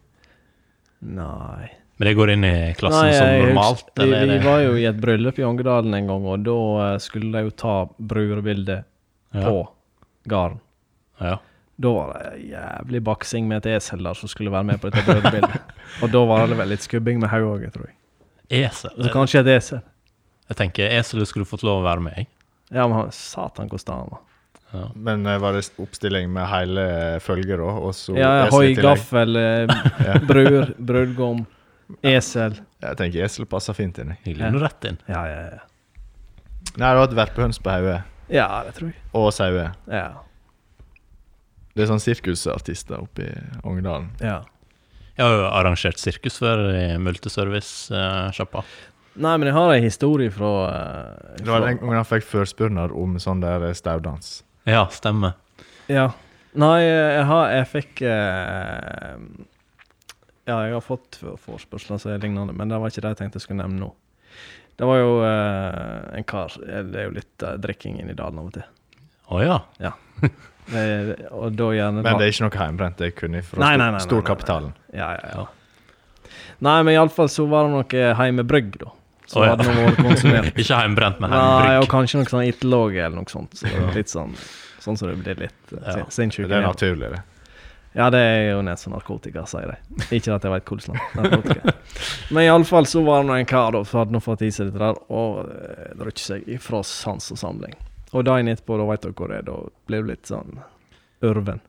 Nei. Men det går inn i klassen Nei, som jeg normalt, husker- eller vi, er vi det var jo i et bryllup i Angedalen en gang, og da eh, skulle de jo ta brudebilde ja. på garden. Ja. Da var det jævlig baksing med et esel der som skulle være med på dette <laughs> brudebildet. og da var det vel litt skubbing med hodet òg, jeg tror jeg. Esel. Så kanskje et esel. Jeg tenker eselet skulle fått lov å være med, jeg. Ja, men han- satan hvor sta han var. Ja. Men eh, var det s- oppstilling med hele eh, følget, da? Og så Ja, esel i høy tillegg? gaffel, <laughs> eh, brur, brudgom, esel. Jeg tenker esel passer fint inni. Jeg glir nå rett inn. Ja, ja, ja. Nei, du har hatt verpehøns på hodet. Ja, det tror jeg. Og sauer. Ja. Det er sånn sirkusartister oppe i Ongedalen. ja. Jeg har jo arrangert sirkus før i multiservice-sjappa. Nei, men jeg har ei historie fra, eh, Det var fra den gangen han fikk førspurnad om sånn der eh, staudans. ja, stemmer. Ja. Nei, eh, jeg har Jeg fikk eh, Ja, jeg har fått for- forespørsler som er lignende, men det var ikke det jeg tenkte jeg skulle nevne nå. Det var jo eh, en kar Det er jo litt eh, drikking inne i dalen av og til. Å ja. Det- og da gjerne Men det er ikke noe heimbrent. Det er kun fra Nei, nei, nei, nei, storkapitalen. Ja, ja, ja. Nei, men iallfall så var det noe heimebrygg, da. Som Å, ja. hadde nå vært konsumert. <laughs> <laughs> Ikke heimbrent, men Nei, og heimbrygg. kanskje noe sånn itlog eller noe sånt. Så det er litt sånn Sånn som det blir litt eh, Ja, sin- sinnssyke. Det er igjen. naturlig, det. Ja, det er jo nesten narkotika, sier de. Ikke at jeg veit hvordan narkotika er. Men iallfall så var det nå en kar da, som hadde nå fått i seg dette der, og eh, drukket seg ifra sans og samling. Og dagen etterpå, da veit dere hvor det er, da blir du litt sånn ørven.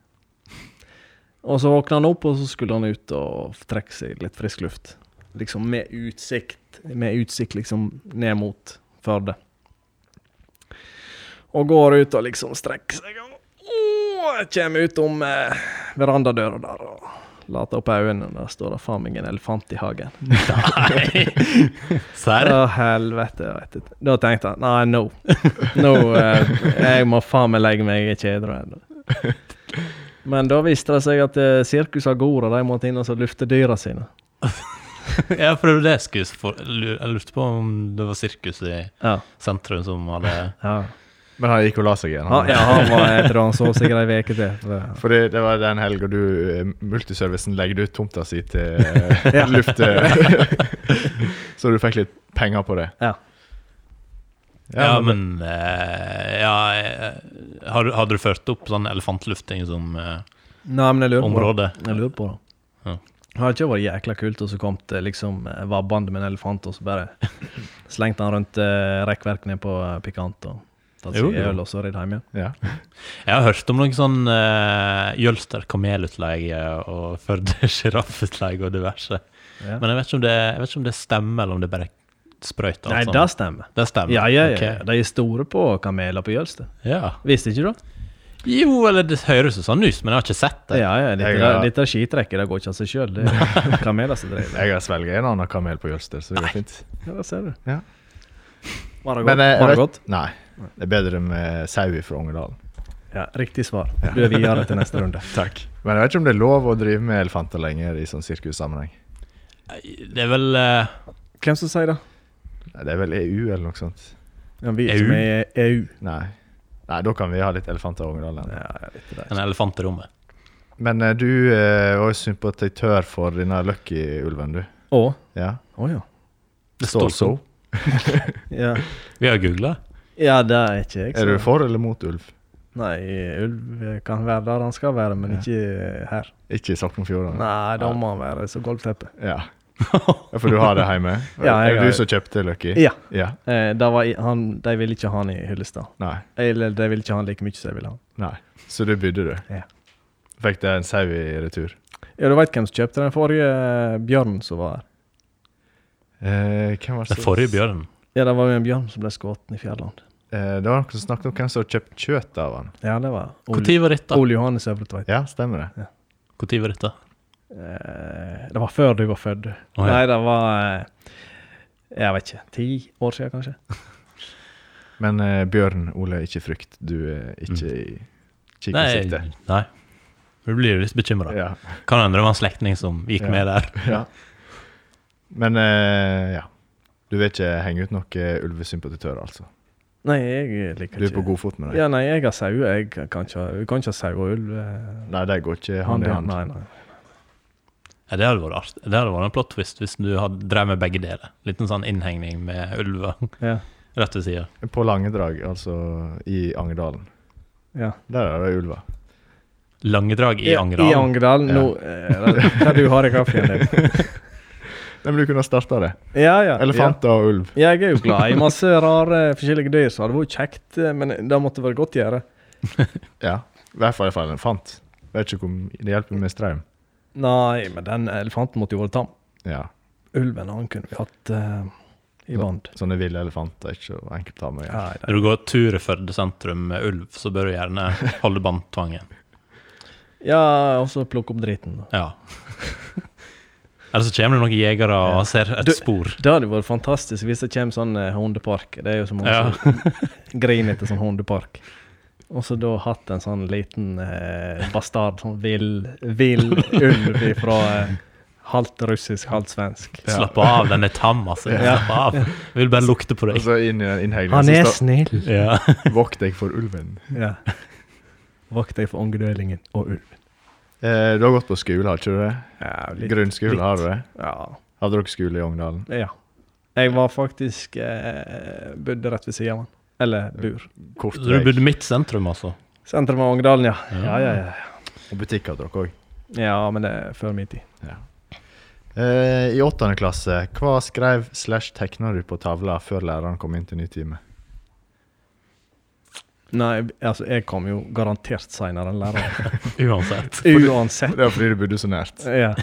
Og så våkna han opp, og så skulle han ut og trekke seg litt frisk luft. Liksom med utsikt, med utsikt liksom ned mot Førde. Og går ut og liksom strekker seg. Og Åh, kommer ut om eh, verandadøra der og later opp øynene. Der står det faen meg en elefant i hagen. <laughs> Nei! Serr? Å, helvete. jeg vet ikke. Da tenkte han nei, no. <laughs> Nå, eh, jeg må faen meg legge meg, jeg er kjedru ennå. Men da viste det seg at eh, Sirkus Agora de måtte inn og så lufte dyra sine. Ja, for det var det jeg skulle for- lu- Jeg lurte på om det var sirkus i Ja. sentrum som hadde ja. Men han gikk og la seg igjen. Han, han. ja, han var, jeg tror han sov sikkert ei uke til. for det- Fordi det var den helga du eh, Multiservicen legde ut tomta si til eh, <laughs> <laughs> Ja. luft eh, Så du fikk litt penger på det. Ja. Ja, men eh, Ja, eh, har du- hadde du ført opp sånn elefantlufting som eh, Nei, men jeg lurer på område? Jeg lurer på det. Ja. Det hadde ikke vært jækla kult, og så kom det liksom eh, vabbende med en elefant, og så bare slengte han rundt eh, rekkverkene på eh, Pikant og tatt Jo, seg jo. øl og så ridd hjem igjen. Ja. Jeg har hørt om noen sånn <laughs> uh, Jølster kamelutleie og Førde sjiraffutleie og diverse. Ja. Men jeg vet, ikke om det, jeg vet ikke om det stemmer, eller om det bare er sprøyt. Nei, det stemmer. det stemmer. Ja, ja, ja. Ok. De er store på kameler på Jølster. ja. Visste ikke du det? Jo, eller det høres jo sånn ut, men jeg har ikke sett det. Ja, ja. Dette, Jeg har- dette skitrekket det går ikke av seg sjøl. Det <laughs> er kameler som driver. Jeg har svelget en annen kamel på Jølster, så det går fint. Ja, det ser du. Ja. Var det godt? Men eh, Var det jeg godt? vet, nei, det er bedre med sau fra Ongedalen. Ja, riktig svar. Du er videre til neste <laughs> runde. Takk. Men jeg vet ikke om det er lov å drive med elefanter lenger i sånn sirkussammenheng. Det er vel eh, Hvem som sier det? Nei, Det er vel EU eller noe sånt. Ja, vi EU. som er EU. Nei. Nei, da kan vi ha litt elefanter i Ongedalen. Ja, jeg vet det. en elefant i rommet. Men eh, du eh, var jo sympatitør for denne Lucky-ulven, du. Å? Ja. Å ja. Det står så. ja. Vi har googla. Ja, det er ikke jeg. så- Er du for eller mot ulv? Nei, ulv kan være der han skal være, men Ja. ikke her. Ikke i Sogn og Fjordane? Nei, da må han være som gulvteppe. Ja. Ja, For du har det hjemme? <laughs> Ja, er jeg det har- du som kjøpte Lucky? Ja. ja. Eh, det var i, han, de ville ikke ha han i Hyllestad. Nei. Eller de ville ikke ha han like mye som de ville ha han. Nei. Så du bydde, du? Ja. Fikk deg en sau i retur? Ja, du veit hvem som kjøpte den forrige eh, bjørnen som var her? Eh, hvem var Den forrige bjørnen. Ja, det var jo en bjørn som ble skutt i Fjærland. Eh, det var noen som snakket om hvem som hadde kjøpt kjøtt av han. Ja, det var Ole, Når var dette? Ole Johannes Øvretveit. Ja, stemmer det. Hvor tid var dette? Eh, det var før du var født. Å, ja. Nei, det var eh, Jeg vet ikke. Ti år siden, kanskje? Men eh, Bjørn Ole, ikke frykt. Du er ikke i kikkersikte. Mm. Nei. Nei. Vi blir jo litt bekymra. Ja. <laughs> Kan hende det var en slektning som gikk Ja. med der. ja. Men eh, ja. Du vil ikke henge ut noen ulvesympatitører, altså? Nei, jeg liker Du er på god fot med dem? Ja, nei, jeg har sauer. Jeg kan ikke ha- vi kan ikke ha sau og ulv. eh, Nei, de går ikke hånd i hånd. Nei, nei. Ja, det hadde vært artig. Det hadde vært en plot twist hvis du hadde drev med begge deler. Liten sånn innhegning med ulver Ja. <laughs> rett ved sida. På Langedrag, altså i Angerdalen. ja. Der er det ulver. Langedrag i I Angerdalen. Angerdal. Nå eh, Hva du har i kaffen din? Nei, Men du kunne ha starta det. Ja, ja. Elefanter og ulv. Ja. Jeg er jo glad i masse rare forskjellige dyr, så det var jo kjekt, eh, men det måtte være godt gjøre. Ja. I hvert fall i hvert fall elefant. Vet ikke om det hjelper med strøm. Nei, men den elefanten måtte jo være tam. Ja. Ulven, han kunne vi hatt eh, i band. Sånne ville elefanter er ikke så enkelt å ha med. å gjøre. Nei, nei. Når du går tur i Førde sentrum med ulv, så bør du gjerne holde båndtvangen. Ja, og så plukke opp driten. da. Ja. Eller så kommer det noen jegere og ser et Du- spor. Det hadde vært fantastisk hvis det kommer sånn eh, hundepark. Det er jo så mange <laughs> Ja. som griner etter sånn hundepark. Og så da hatt en sånn liten eh, bastard, sånn vill, vill ulv ifra eh, halvt russisk, halvt svensk. Slapp av, den er tam, altså. Ja. Slapp av. Jeg vil bare lukte på Og deg. så inn i den Han innhegningen er så snill! Ja. <laughs> står 'vokt deg for ulven'. Ja. Vakt deg for ungdølingen og ulv. Eh, du har gått på skole, har ikke du det? Ja, Grunnskole, har du det? Ja. Hadde dere skole i Ongdalen? ja. Jeg var faktisk eh, bodde rett ved siden av han. Eller bur. Kort Så du vei. bodde midt sentrum, altså? Sentrum av Ongdalen, ja. Ja. Ja, ja, ja. Og butikk hadde dere òg. Ja, men det er før min tid. Eh, I åttende klasse, hva skrev slash tegna du på tavla før læreren kom inn til ny time? Nei, altså, jeg kom jo garantert seinere enn <laughs> læreren. Uansett. Uansett. Det var fordi du bodde så nært. Ja.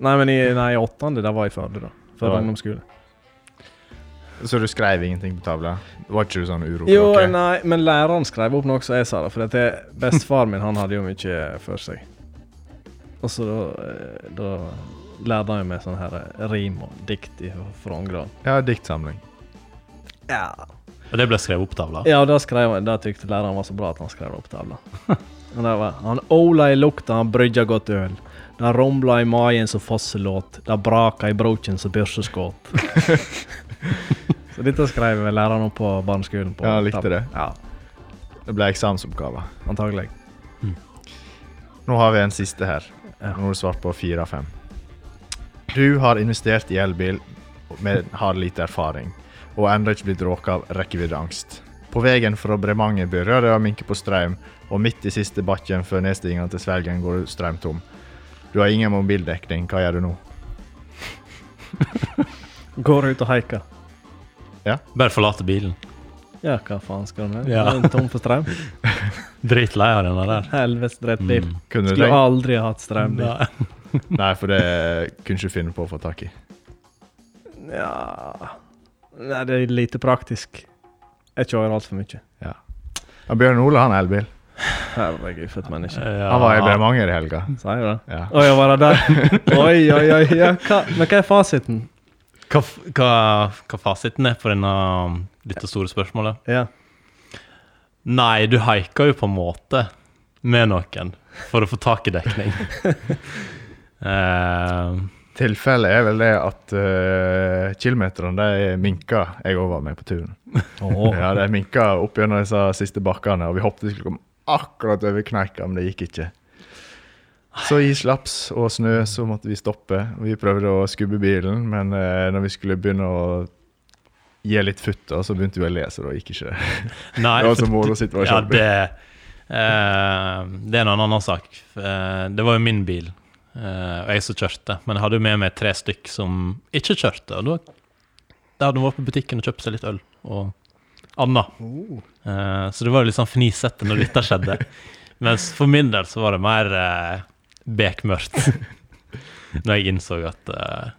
Nei, men i nei, i åttende, det var i Førde, da. Det var- Før ungdomsskole. Så du skrev ingenting på tavla? Det var ikke du sånn uro? Jo, nei, men læreren skrev opp noe som jeg sa, da. For at jeg- bestefaren min, han hadde jo mye for seg. Og så da, eh, da lærte han jo meg sånn her eh, rim og dikt i- fra Ongdalen. Ja, diktsamling. Ja. Og det ble skrevet opp tavla? Ja, og da skrev han, da tykte læreren var så bra at han skrev det opp tavla. <laughs> Og det var, han ola i lukta, han brygja godt øl. Det rumla i magen som fosselåt, det braka i broken som byrseskåt. så dette skrev vel læreren opp på barneskolen. På Ja, han likte tapp. det. Ja, Det ble eksamensoppgave. antagelig. Nå har vi en siste her. Ja. Nå har du svart på fire av fem. Du har investert i elbil, men har lite erfaring, og har ennå ikke blitt råka av rekkeviddeangst. På veien fra Bremanger begynner det å minke på strøm, og midt i siste bakken før nedstigningen til Svelgen går du strømtom. Du har ingen mobildekning, hva gjør du nå? Går ut og haiker. Bare forlate bilen. Ja, hva faen skal du med? Ja. Det er Tom for strøm? Dritlei av denne der. Helvetes drittbil. Kunne du Skulle tenkt, aldri ha hatt strøm. Nei. Nei, for det kunne ikke finne på å få tak i. Ja Nei, det er lite praktisk. Jeg kjører altfor mye. Ja, Bjørn Ole han har elbil. Herregud, for et menneske. Han var i Bremanger i helga. Eh. Sier du det? Ja. Oi, jeg var <laughs> der. Oi, oi, oi. Ja, hva, men hva er fasiten? Hva, f- hva, hva fasiten er på denne, um, dette store spørsmålet? Ja. Nei, du haiker jo på en måte med noen for å få tak i dekning. Eh, Tilfellet er vel det at uh, kilometerne de minka jeg òg var med på turen. Ja, De minka opp gjennom disse siste bakkene, og vi håpte vi skulle komme akkurat over kneika, men det gikk ikke. Så i slaps og snø så måtte vi stoppe. Vi prøvde å skubbe bilen, men eh, når vi skulle begynne å gi litt futt, da, så begynte vi å lese, og da gikk ikke det. nei, Det var for- så Ja, morosituasjon. det, eh, det er en annen sak. Eh, det var jo min bil, eh, og jeg som kjørte. Men jeg hadde jo med meg tre stykk som ikke kjørte. Og da, da hadde de vært på butikken og kjøpt seg litt øl og anna. Oh. Eh, så det var jo litt sånn fnisete når dette <laughs> skjedde. Mens for min del så var det mer eh, <laughs> bekmørkt når jeg innså at eh,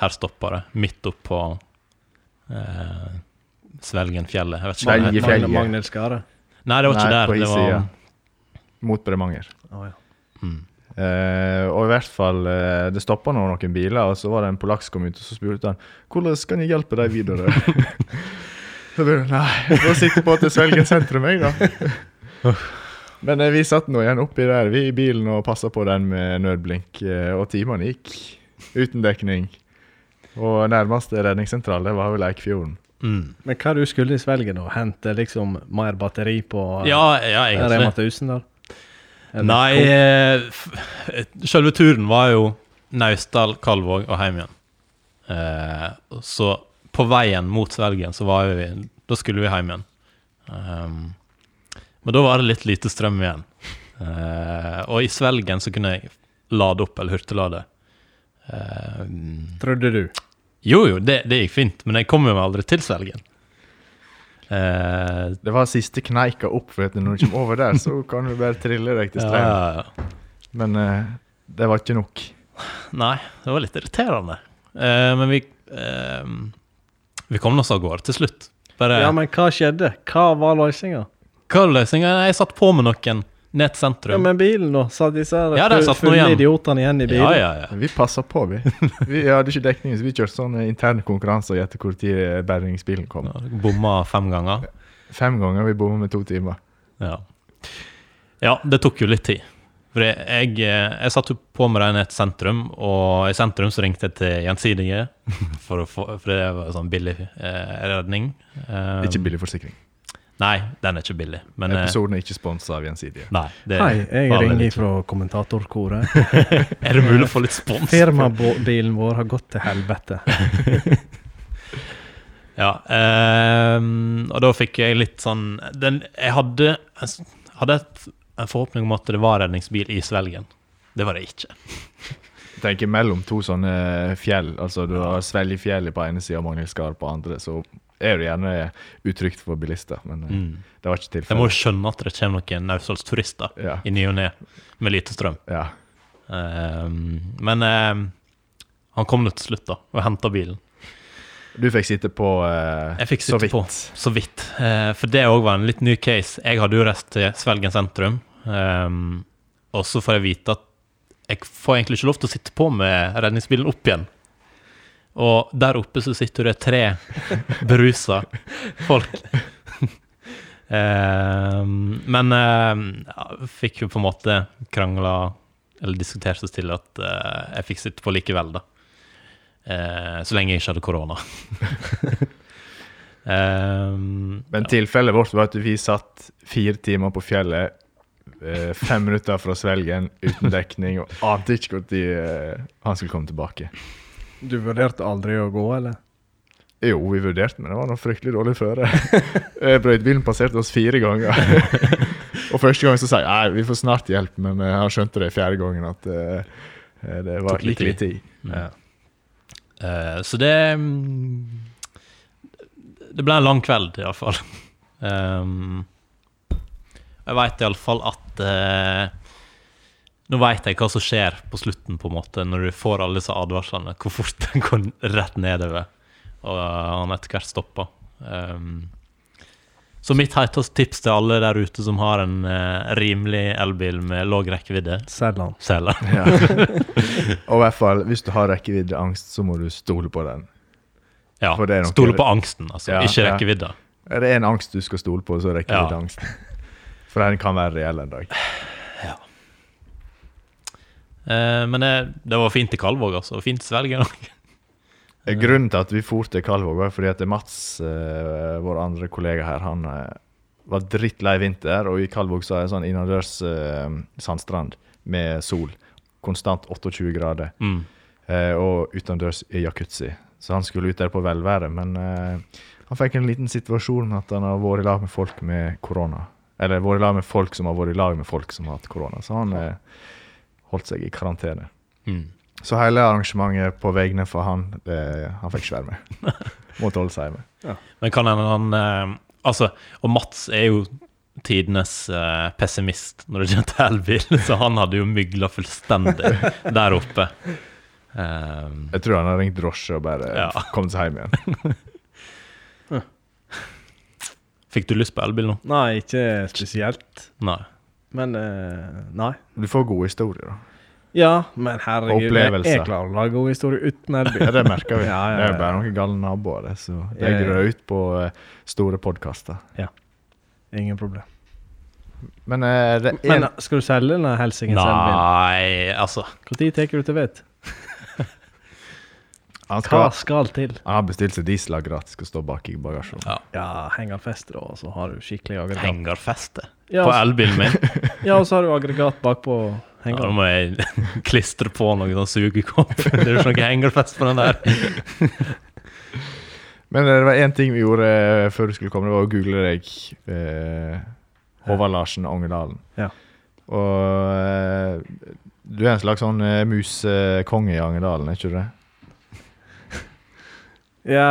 her stoppa det, midt oppå eh, Svelgenfjellet. Jeg vet ikke hva det heter. Svelgen. Magne- Magne, fjellet. Magnhild Skare. Nei, det var ikke Nei, der. på Det var, hissida. Mot Bremanger. Å, ja. Mm. Eh, og i hvert fall, eh, det stoppa nå noen biler, og så var det en polakk som kom ut, og så spurte han hvordan kan jeg hjelpe deg videre. <laughs> så ble det nei, jeg får sitte på til Svelgen sentrum, jeg, da. Men eh, vi satt nå igjen oppi der, vi i bilen og passa på den med nødblink, eh, og timene gikk uten dekning. Og nærmeste redningssentral det var vel Eikfjorden. Mm. Men hva du skulle i Svelgen da? Hente liksom mer batteri på eh, Ja, ja, Rema egentlig. 1000 der? Eller- Nei, eh, f- selve turen var jo Naustdal, Kalvåg og hjem igjen. Eh, så på veien mot Svelgen så var vi Da skulle vi hjem igjen. Ehm, men da var det litt lite strøm igjen. Eh, og i Svelgen så kunne jeg lade opp, eller hurtiglade. Eh, Trodde du. jo, jo, det, det gikk fint, men jeg kom jo aldri til Svelgen. Eh, Det var siste kneika opp, for at når du kommer over der, så kan du bare trille deg til ja, strømmen. ja, ja. Men eh, det var ikke nok. Nei, det var litt irriterende. Eh, men vi eh, Vi kom oss av gårde til slutt. Bare, Ja, men hva skjedde? Hva var løsninga? Hva er løsninga? Jeg satt på med noen ned til Ja, sentrum. men bilen, da? Satt disse her Ja, der fu- satt den fulle igjen. idiotene igjen i bilen? Ja, ja, ja. Vi passa på, <laughs> vi. Vi hadde ikke dekning, så vi kjørte sånn eh, interne konkurranser og gjette hvor tid eh, bergingsbilen kom. Bomma fem ganger. Fem ganger vi bomma med to timer. Ja. ja, det tok jo litt tid. For jeg, jeg, eh, jeg satt jo på med dem ned til sentrum, og i sentrum så ringte jeg til Gjensidige, <laughs> for, å få, for det var sånn billig eh, redning. Eh, Ikke billig forsikring. Nei, den er ikke billig. Men, eh, Episoden er ikke sponsa av Gjensidige. nei, det, Hei, jeg var vel ringer ikke. fra kommentatorkoret. Er det mulig å få litt spons? Firmabilen vår har gått til helvete. Ja, ehm, og da fikk jeg litt sånn den, Jeg hadde, jeg s- hadde et, en forhåpning om at det var redningsbil i svelgen. Det var det ikke. Tenk mellom to sånne fjell, altså du har Sveljefjellet på ene sida og Magnhild Skar på andre, så er det gjerne utrygt for bilister, men eh, det var ikke Jeg Mm. må tilfellet. jo skjønne at det kommer noen Naustdalsturister Ja. i ny og ne med lite strøm. Ja. Ehm, men ehm, han kom nå til slutt, da, og henta bilen. Du fikk sitte på eh, Jeg fikk så sitte vidt. på, så vidt. Eh, for det òg var en litt ny case. Jeg hadde jo reist til Svelgen sentrum. ehm, og så får jeg vite at jeg får egentlig ikke lov til å sitte på med redningsbilen opp igjen. Og der oppe så sitter det tre <laughs> berusa folk. <laughs> Ehm, men ehm, ja, fikk jo på en måte krangla eller diskutert oss til at eh, jeg fikk sitte på likevel, da. Eh, så lenge jeg ikke hadde korona. Ehm, Men tilfellet vårt var at vi satt fire timer på fjellet, eh, fem minutter fra svelgen, uten dekning, og ante ikke når eh, han skulle komme tilbake. Du vurderte aldri å gå, eller? Jo, vi vurderte, men det var noe fryktelig dårlig føre. Eh, Brøytebilen passerte oss fire ganger. og første gang så sa jeg nei, vi får snart hjelp, men eh, han skjønte det fjerde gangen at eh, eh, det Tok var litt gikk litt tid. Ja. Eh, så det mm, Det ble en lang kveld, <laughs> iallfall. Ehm, Um, jeg veit iallfall at eh, Nå veit jeg hva som skjer på slutten, på en måte, når du får alle disse advarslene. Hvor fort <laughs> den går rett nedover, og han etter hvert stopper. Ehm, så mitt heiteste tips til alle der ute som har en eh, rimelig elbil med lav rekkevidde, Selg han. selg den. Ja. Og i hvert fall, hvis du har rekkeviddeangst, så må du stole på den. <laughs> Ja, For det er nok- Stole på angsten, altså. Ja, ikke ja. rekkevidda. Er det en angst du skal stole på, så er rekkeviddeangsten. For den kan være reell en dag. Eh, men det, det var fint i Kalvåg, altså. Fint svelge. Eh, Grunnen til at vi for til Kalvåg, var fordi at Mats, eh, vår andre kollega her, han eh, var drittlei vinter, og i Kalvåg så er det sånn innendørs eh, sandstrand med sol. Konstant 28 grader. <laughs> Mm. eh, og utendørs i jacuzzi. Så han skulle ut der på velvære, men eh, han fikk en liten situasjon med at han har vært i lag med folk med korona. Eller vært i lag med folk som har vært i lag med folk som har hatt korona. Så han eh, holdt seg i karantene. Mm. Så hele arrangementet på vegne for han, eh, han fikk ikke være med. Måtte holde seg hjemme. Men kan hende han eh, Altså, og Mats er jo tidenes eh, pessimist når det gjelder til elbil, <laughs> så han hadde jo mygla fullstendig <laughs> der oppe. Ehm, Jeg tror han har ringt drosje og bare Ja. kommet seg hjem igjen. fikk du lyst på elbil nå? Nei, ikke spesielt. Nei. Men eh, nei. Du får gode historier, da. Ja, men herregud, Opplevelse. jeg klarer å lage god historie uten elbil. Ja, <laughs> det merker vi. Ja, ja, Det er ja. jo bare noen gale naboer, det. Så det Ja, ja. grør ut på eh, store podkaster. Ingen problem. Men eh, det er Men eh, skal du selge denne helsikens elbilen? Nei, altså Når tar du til vet? han Hva skal- skal til? Han har bestilt seg diesel gratis og står bak i bagasjerommet. ja, Ja, hengerfest, da, og så har du skikkelig aggregat. Hengerfeste Ja, altså. på og- elbilen min. ja, og så har du aggregat bakpå Ja, da hengeren. må jeg <laughs> klistre på noe sånn sugekopp. <laughs> Det er jo ikke noe hengerfest på den der. Men eh, det var én ting vi gjorde eh, før du skulle komme, det var å google deg. Eh, Håvard Larsen Angedalen. Ja. Og eh, du er en slags sånn eh, musekonge i Angedalen, er ikke du det? Ja,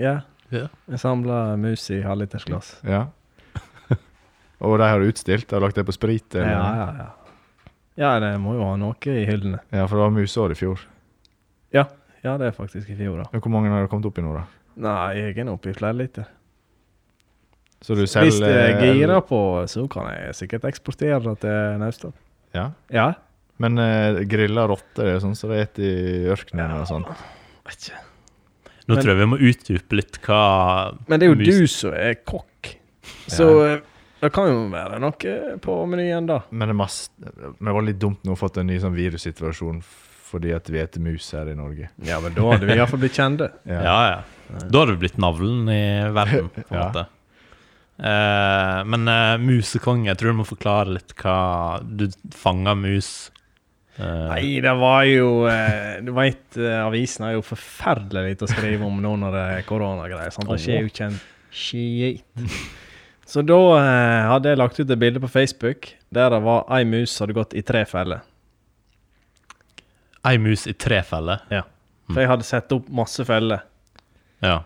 ja. Ja. Jeg samla mus i halvlitersglass. <laughs> Ja. Og de har du utstilt? Har du lagt det på sprit? Ja, Eller? ja, ja. Ja, det må jo ha noe i hyllene. Ja, for det var museår i fjor. Ja, det er faktisk i fjor, da. Men Hvor mange har det kommet opp i nå, da? Nei, jeg er nå oppe i flere liter. Så du Hvis selger jeg eh, girer på, så kan jeg sikkert eksportere det til Naustdal. Ja. Ja, Men eh, grilla rotter og sånn, så det spiser i ørkenen og sånn. vet ikke. Nå Men- tror jeg vi må utdype litt hva Men det er jo Mus- du som er kokk, så eh, det kan jo være noe eh, på menyen, da. Men det, er masse, men det var litt dumt nå å ha fått en ny sånn virussituasjon fordi at vi spiser mus her i Norge. Ja, men da hadde vi iallfall blitt kjente. Ja, ja. Da hadde du blitt navlen i verden, på en Ja. måte. Eh, men eh, musekonge, jeg tror du må forklare litt hva Du fanger mus. eh, <laughs> Nei, det var jo eh, Du veit, avisen er jo forferdelig lite å skrive om nå når det er koronagreier. sant? Det skjer jo ikke en skit. <laughs> Så da eh, hadde jeg lagt ut et bilde på Facebook der det var ei mus som hadde gått i tre feller. Ei mus i tre feller. For jeg hadde satt opp masse feller Ja.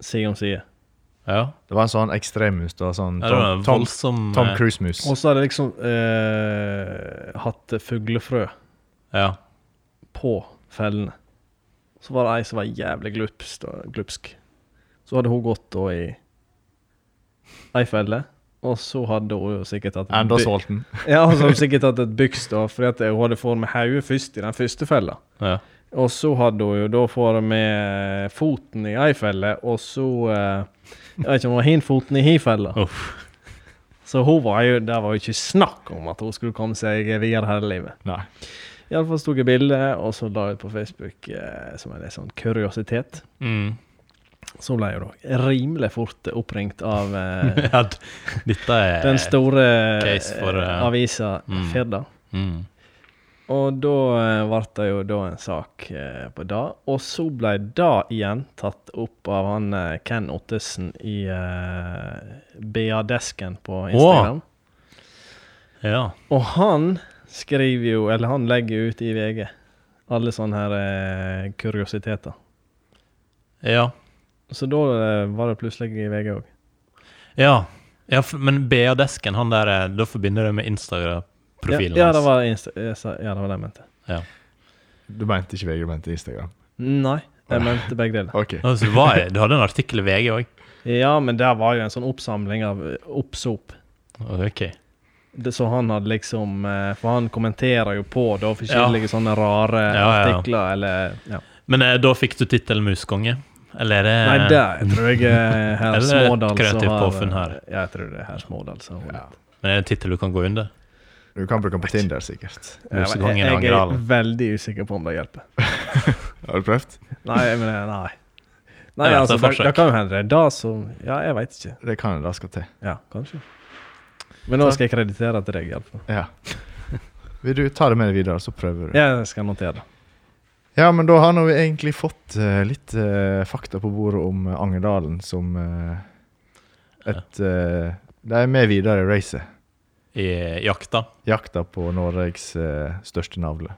side om side. ja. Det var en sånn ekstremmus. Det var sånn ja det var Tom, en Tom, voldsom Tom eh, Cruise-mus. Og så hadde jeg liksom eh, hatt fuglefrø Ja. på fellene. Så var det ei som var jævlig glupsk. glupsk. Så hadde hun gått da i ei felle, og så hadde hun jo sikkert hatt Enda sånn. by- sulten. <laughs> <laughs> Ja, og så hadde hun sikkert hatt et byks, da, fordi at hun hadde fått med hodet først i den første fella. ja. Og så hadde hun jo da fått med foten i ei felle, og så eh, Jeg vet ikke om hun har foten i hi fella. Uff. Så hun var jo, det var jo ikke snakk om at hun skulle komme seg videre hele livet. Nei. Iallfall tok jeg bilde, og så la jeg ut på Facebook eh, som en litt sånn kuriositet. Mm. <laughs> Så ble jeg jo da rimelig fort oppringt av eh, <laughs> ja, d- dette er den store Case for, eh, eh, avisa mm. Firda. mm. Og da eh, ble det jo da en sak eh, på det. Og så ble det igjen tatt opp av han eh, Ken Ottesen i eh, BA-desken på Instagram. Ja. Og han skriver jo, eller han legger jo ut i VG, alle sånne her eh, kuriositeter. Ja. Så da eh, var det plutselig i VG òg. ja. ja f- men BA-desken, han der eh, Da forbinder jeg med Instagram. Ja, profilen ja, det hans. var Insta jeg sa- ja, det var det jeg mente. Ja. Du mente ikke VG, du mente Instagram. Nei, jeg mente begge deler. Ok. Altså, det var, du hadde en artikkel i VG òg? Ja, men der var jo en sånn oppsamling av eh, oppsop. Ok. Det, så han hadde liksom eh, For han kommenterer jo på da forskjellige sånne rare Ja, ja. artikler eller ja. Men eh, da fikk du tittelen muskonge? Eller eh, er det Nei, der tror jeg <laughs> eh, Eller herr et Smådal som kreativt har, påfunn her. Ja, jeg tror det er herr Smådal som har Ja. holdt. Men er det en tittel du kan gå under? Du kan bruke den på Tinder, sikkert. Jeg, Musekongen jeg, jeg er Angerdalen. veldig usikker på om det hjelper. Har du prøvd? Nei, men eh, <laughs> nei. Nei, Ja, det er altså, det, forsøk. det kan jo hende det er da som Ja, jeg veit ikke. Det kan det da skal til. Ja, kanskje. Men nå skal jeg kreditere til deg, iallfall. Ja. Vil du ta det med deg videre, så prøver du? Jeg skal notere det. Ja, men da har nå vi egentlig fått eh, litt eh, fakta på bordet om eh, Angerdalen som eh, et eh, De er med videre i racet. I eh, jakta? Jakta på Norges eh, største navle.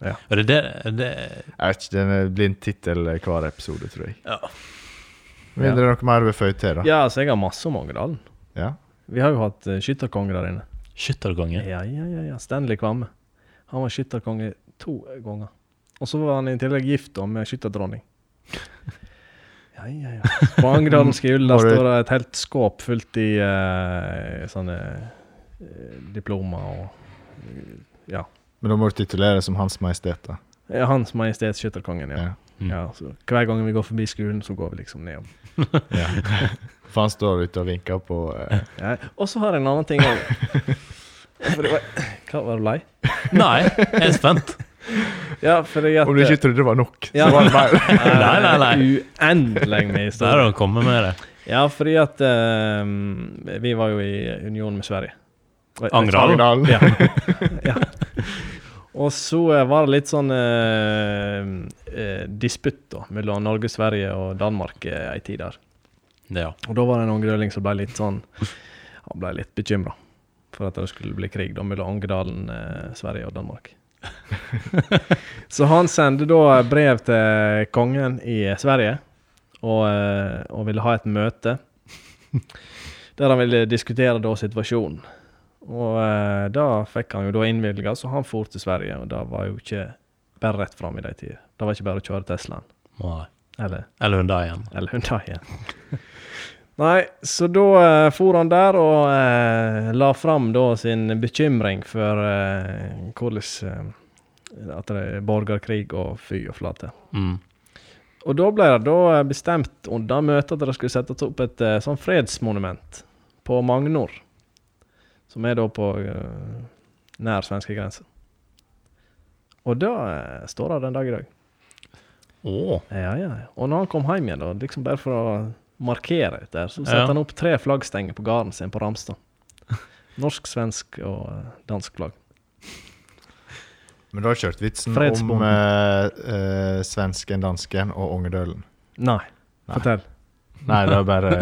Er det det, er det Jeg vet ikke, det er en blind tittel eh, hver episode, tror jeg. Ja. Mindre det er noe mer du vil føye til, da. Ja, altså, jeg har masse om Angerdalen. Ja. Vi har jo hatt eh, skytterkonge der inne. skytterkonge? Ja, ja, ja, ja. Stanley Kvamme. Han var skytterkonge to ganger. Og så var han i tillegg gift da med <laughs> skytterdronning. Ja, ja, ja. På Angerdalens <laughs> Skule Har du- står det et helt skåp fullt i eh, sånne eh, diplomer og Men da må du titulere som Hans Majestet, da. ja, Hans Majestet Skytterkongen, ja. Ja. Mm. ja så hver gang vi går forbi skolen, så går vi liksom ned. Ja. <laughs> For han står ute og vinker på eh, Ja. Og så har jeg en annen ting òg. Hva var du lei? Nei, jeg er spent. Ja, fordi at eh, Om du ikke trodde det var nok, <laughs> Ja. så var det <laughs> mer. <laughs> Nei, <laughs> nei, nei. Uendelig med Så er det historier. å komme med det. Ja, fordi at ehm, vi var jo i union med Sverige. Og- Angerdalen. Angerdalen. Ja. ja. Og så eh, var det litt sånn eh, eh, disputt da, mellom Norge, Sverige og Danmark eh, ei tid der. Det, <laughs> ja. Og da var det en grøling som ble litt sånn Han ble litt bekymra for at det skulle bli krig da, mellom Angerdalen, eh, Sverige og Danmark. så han sendte da brev til kongen i Sverige og, eh, og ville ha et møte der han ville diskutere da situasjonen. Og eh, da fikk han jo da innvilga, så han for til Sverige, og da var jo ikke bare rett fram i de tider. Det var ikke bare å kjøre Teslaen Nei. eller Eller hun da igjen. eller hundar igjen. <laughs> Nei, så da eh, for han der og eh, la fram da sin bekymring for eh, hvordan eh, At det er borgerkrig og fy og flate. Mm. Og da ble det da eh, bestemt under møtet at det skulle settes opp et eh, sånn fredsmonument på Magnor. Som er da på eh, nær svenske grense. Og da eh, står det den dag i dag. Åh. Ja, ja. ja. Og når han kom hjem igjen, da, liksom bare for å markere dette, her, så satte Ja. han opp tre flaggstenger på gården sin på <laughs> Ramstad. Norsk, svensk og eh, dansk flagg. Men du har kjørt vitsen om Fredsbonden. eh, eh, svensken, dansken og ungedølen. Nei. Nei. Fortell. Nei, det er bare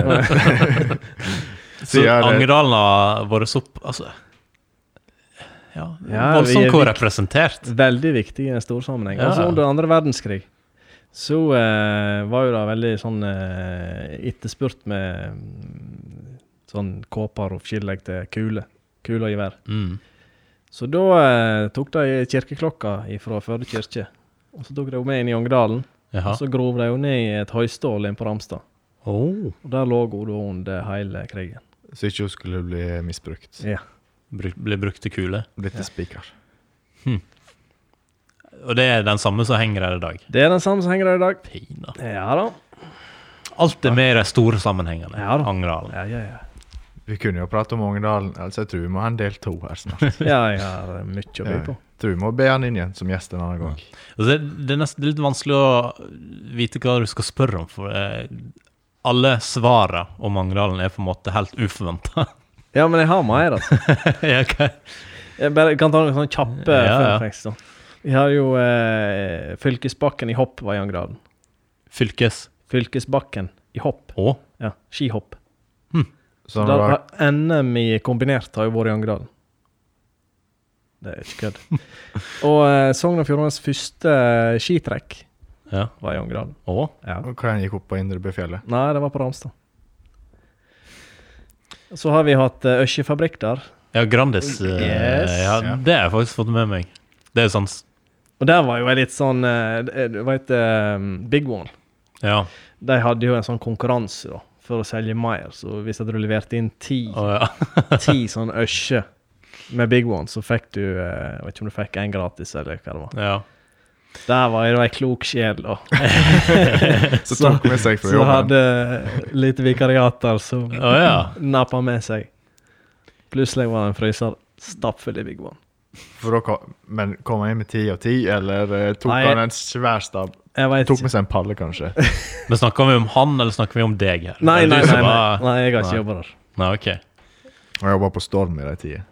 Så Sier det- Angerdalen har vært så Altså Ja, Ja, vi voldsomt er hvor vik- representert. Veldig viktig i en stor sammenheng. Ja. Altså under andre verdenskrig så eh, var jo det veldig sånn eh, etterspurt med mm, sånn kåper og skillegg til kule. Kule og gevær. Mm. Så da eh, tok de kirkeklokka fra Førde kirke, og så tok de henne med inn i Ongedalen. Jaha. Og så grov de jo ned i et høystål inne på Ramstad. Oh. Og der lå hun da under hele krigen. Så ikke hun skulle bli misbrukt. Ja. Bruk, ble brukt til kule. Blitt til spiker. Og det er den samme som henger her i dag. Det er den samme som henger der i dag. Pina. Ja da. Alt er med i de store sammenhengene. Ja da. Angerdalen. Ja, ja, ja. Vi kunne jo prate om Ungedalen, altså jeg tror vi må ha en del to her snart. ja jeg har eh, mye å by Ja. på. tror vi må be han inn igjen som gjest en annen gang. Altså, det- det er nesten litt vanskelig å vite hva du skal spørre om, for eh, alle svarene om Angerdalen er på en måte helt uforventa. Ja, men jeg har mer, altså. <laughs> ja, ok. Jeg bare kan ta noen sånne kjappe Ja, ja. fun facts. da. Vi har jo eh, Fylkesbakken i hopp var i Angraden. Fylkes... Fylkesbakken i hopp. Å? Ja, skihopp. Så han Der var, har NM i kombinert har jo vært i Angerdalen. Det er ikke kødd. Og eh, Sogn og Fjordanes første skitrekk Ja. var i Angerdalen. Å? Ja. og hvordan gikk opp på <laughs> Indrebøfjellet? Nei, det var på Ramstad. Så har vi hatt eh, Øsjefabrikk der. Ja, Grandis. eh, Yes. Ja, det har jeg faktisk fått med meg. Det er jo sånn s- Og der var jo jeg litt sånn eh, eh, Du vet eh, Big One. Ja. De hadde jo en sånn konkurranse da, for å selge mer. Så hvis at du leverte inn ti, Å, ja. <laughs> ti sånn øsje med Big One, så fikk du eh, Jeg vet ikke om du fikk én gratis, eller hva det var. ja. Der var jeg da ei klok sjel, da. Så tok med seg fra Så jobben. hadde eh, litt vikariater som Å, ja. nappa med seg. Plutselig var det en fryser stappfull i Big One. For da kom, men kom han inn med ti av ti, eller eh, tok Nei. han en svær stab? Jeg vet Tok ikke. med seg en palle, kanskje. Men snakker vi om han, eller snakker vi om deg her? Nei, Er det nei, du nei, som nei, var- nei, jeg har ikke Nei. jobba der. Nei, ok. Og jobba på Storm i de tider.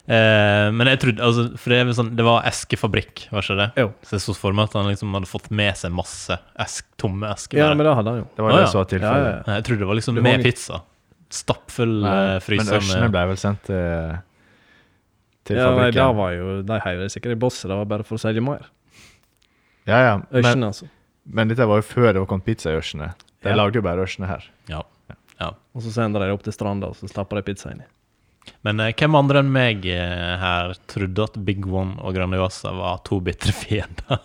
Eh, men jeg trodde, altså, for det, er vel sånn, det var eskefabrikk, var ikke det? Jo. Så jeg så for meg at han liksom hadde fått med seg masse esk, tomme esker. Ja, bare. men det hadde han jo. Det var Å, det ja. som var tilfellet. Ja, ja, ja. Nei, Jeg trodde det var liksom Det var med litt- pizza. Stappfull Nei, eh, Men fryser Ørsene med ble vel sendt til, til Ja, nei, der fabrikken. var jo, De heiv det sikkert i bosset, det var bare for å selge mer. Ja, ja, men, Øsjen, altså. men dette var jo før det var kommet pizza i Ørsene. De Ja. lagde jo bare Ørsene her. Ja. Og så sender de det opp til stranda, og så stapper de pizza inn i. Men eh, hvem andre enn meg eh, her trodde at Big One og Grandiosa var to bitre <laughs> fiender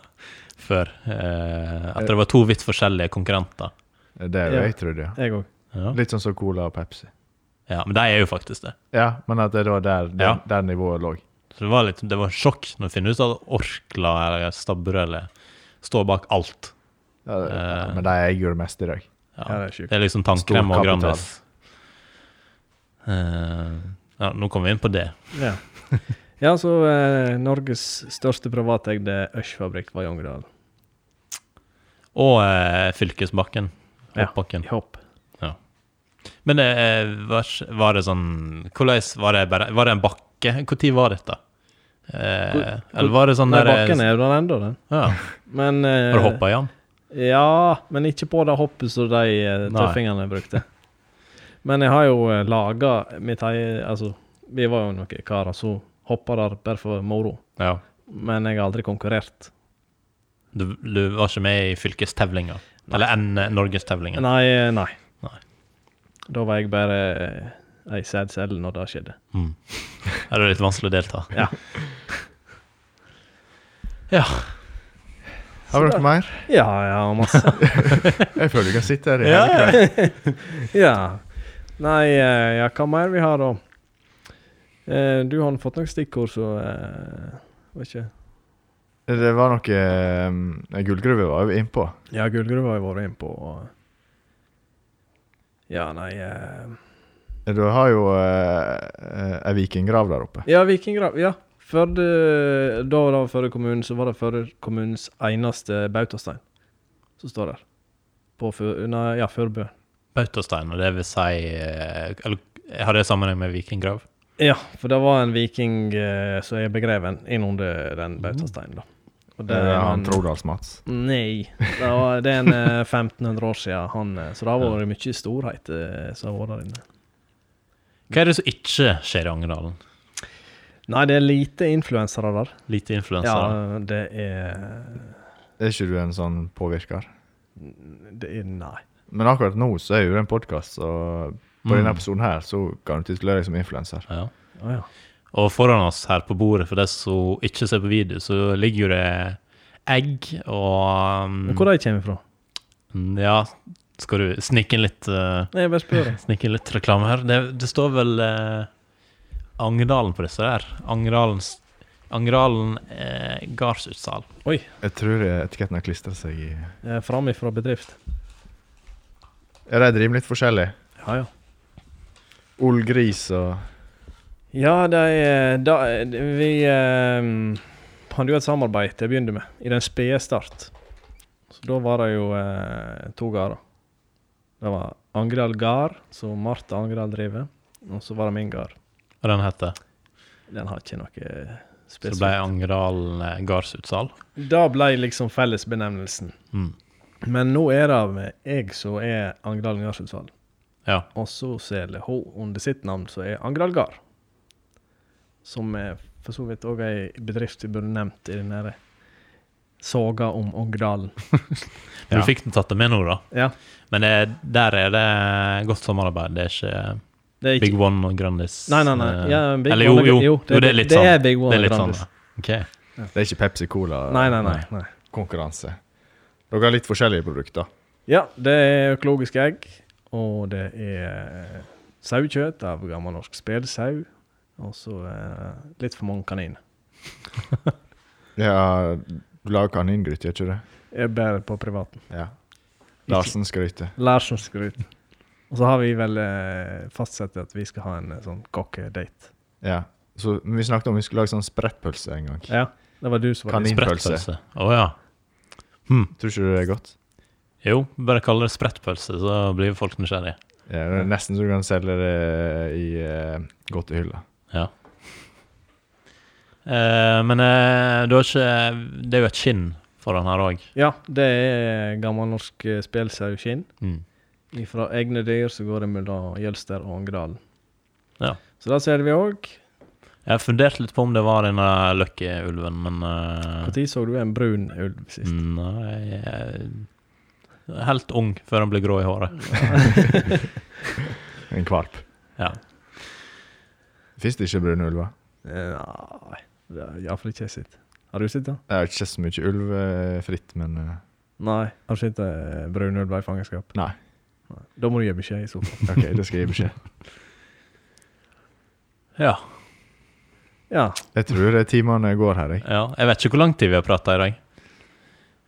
før? Eh, at det var to vidt forskjellige konkurrenter. Det er jo Ja. jeg trodde, ja. Jeg òg. Ja. Litt sånn som Cola og Pepsi. ja, Men de er jo faktisk det. Ja, men at det var der, der, Ja. der nivået lå. Så det var litt det var sjokk når du finner ut at Orkla eller Stabburet eller står bak alt. Ja, det- Eh. Men de eier jo det meste i dag. Ja, Ja. det er sjukt. Det er liksom tannkrem Stor og kapital. Grandis. Eh, ja, nå kommer vi inn på det. Ja. ja, så eh, Norges største privateide Øsjfabrikk var i Ongedal. Og eh, fylkesbakken. Ja. Hoppbakken. I hopp. Men eh, var, var det sånn Hvordan var det bare Var det en bakke? Når var dette? Eh, Hvor- eller var det sånn Nei, der bakken er jo der ennå, den. ja. Men eh, Har du hoppa i den? Ja, men ikke på det hoppet som de Nei. eh, tøffingene brukte. Men jeg har jo laga mitt eget Altså, vi var jo noen karer som hoppa der bare for moro. Ja. Men jeg har aldri konkurrert. Du, du var ikke med i fylkestevlinga? Eller N Norgestävlingen? Nei, eh, nei. Nei. Da var jeg bare eh, ei sæd selv når det skjedde. Mm. Er det litt vanskelig å delta? Ja. <laughs> Ja. Har dere mer? Ja, ja, masse. <laughs> Jeg føler vi kan sitte her i Ja, hele kveld. Ja. Nei, eh, ja, hva mer vi har da? Eh, Du har fått noen stikkord, så eh, Vet ikke. Det var noe um, Gullgruve var jo innpå. Ja, Gullgruva har jeg vært inne på. og- Ja, nei eh, Du har jo eh, ei vikinggrav der oppe. Ja, Vikinggrav. Ja. Førde, da var det Førde kommune, så var det Førde kommunens eneste bautastein som står der. På Før... Nei, ja, Førdebø. Bautastein, og det vil si eh, Eller har det sammenheng med vikinggrav? Ja, for det var en viking eh, som er begreven innunder den bautasteinen, da. Og Det er er han- Eh, han Trodals-Mats. Nei. Det, var, det er en eh, 1500 år siden han eh, Så det har vært mye storhet eh, som har vært der inne. Hva er det som ikke skjer i Angerdalen? Nei, det er lite influensere der. Lite Ja, influensere? det er Er ikke du en sånn påvirker? Det er Nei. Men akkurat nå så er jo det en podkast, og Mm. på denne episoden her så kan du titulere deg som influenser. ja. Å ja. Og foran oss her på bordet, for de som ikke ser på video, så ligger jo det egg og um, Men hvor de kommer fra? Ja, skal du snike inn litt, eh, Nei, jeg bare spør. <laughs> snike inn litt reklame her? Det, det står vel eh, Angerdalen på disse der. Angerdalens Angerdalen eh, gardsutsalg. Jeg tror etiketten har klistra seg i Jeg er Fram ifra bedrift. Ja, de driver litt forskjellig. Ja, ja. Ullgris og Ja, de eh, da, eh, Vi eh, hadde jo et samarbeid til å begynne med, i den spede start. Så da var det jo eh, to gårder. Det var Angerdal gard, som Marta Angerdal driver, og så var det min gard. Hva den heter Den har ikke noe Så det ble spesielt. Angerdalen eh, gardsutsalg. Da ble liksom fellesbenevnelsen. Mm. Men nå er det med jeg som er Angerdal Gardsutsalg, Ja. og så selger hun under sitt navn, som er Angerdal Gard. Som er for så vidt òg ei bedrift vi burde nevnt i den her soga om Angerdalen. Men Ja. du fikk den tatt det med nå, da. Ja. Men det, der er det godt samarbeid. Det er ikke Det er ikke Big One og Grandis. Nei, nei, nei. eh, Ja, Big eller One og- jo, jo, jo, det, er litt det sånn. er Big One det er og litt sånn, Grandis. ja. Ok. Det er ikke Pepsi Cola Nei, nei, nei. nei. konkurranse. Dere har litt forskjellige produkter. Ja, det er økologiske egg, og det er sauekjøtt av gammel norsk spedsau, og så eh, litt for mange kaniner. Ja, du lager kaningryte, gjør ikke det? Jeg bærer på privaten. Ja. Larsen skryter. Larsen skal ut. Og så har vi vel eh, fastsatt at vi skal ha en eh, sånn kokkedate. Ja. Så men vi snakket om vi skulle lage sånn sprettpølse en gang. Ja, det var du som var Kanin. Pølse. Sprettpølse. Å ja. Hm. Tror ikke du det er godt? Jo, bare kall det sprettpølse, så blir folk nysgjerrige. Ja, det er nesten så du kan selge det i uh, godtehylla. Ja. Eh, men eh, du har ikke Det er jo et skinn foran her òg. Ja, det er gammel norsk eh, spelsauskinn. Mm. Fra egne dyr så går det mellom Jølster og Ångedalen. Ja. Så da ser vi òg. Jeg funderte litt på om det var denne Lucky-ulven, men eh, Når så du en brun ulv sist? Mm. Nei jeg er Helt ung før han blir grå i håret. En kvalp. Ja. Fins det ikke brune ulver? Eh, Nei, det har iallfall ikke jeg sett. Har du sett det? Jeg har ikke sett så mye ulv eh, fritt, men eh, Nei. Har du sett eh, brun ulv i fangenskap? Nei. Nei. Da må du gi beskjed i så fall. OK, det skal jeg gi beskjed. ja. Ja. Jeg tror eh, timene går her, jeg. Ja, jeg vet ikke hvor lang tid vi har prata i dag.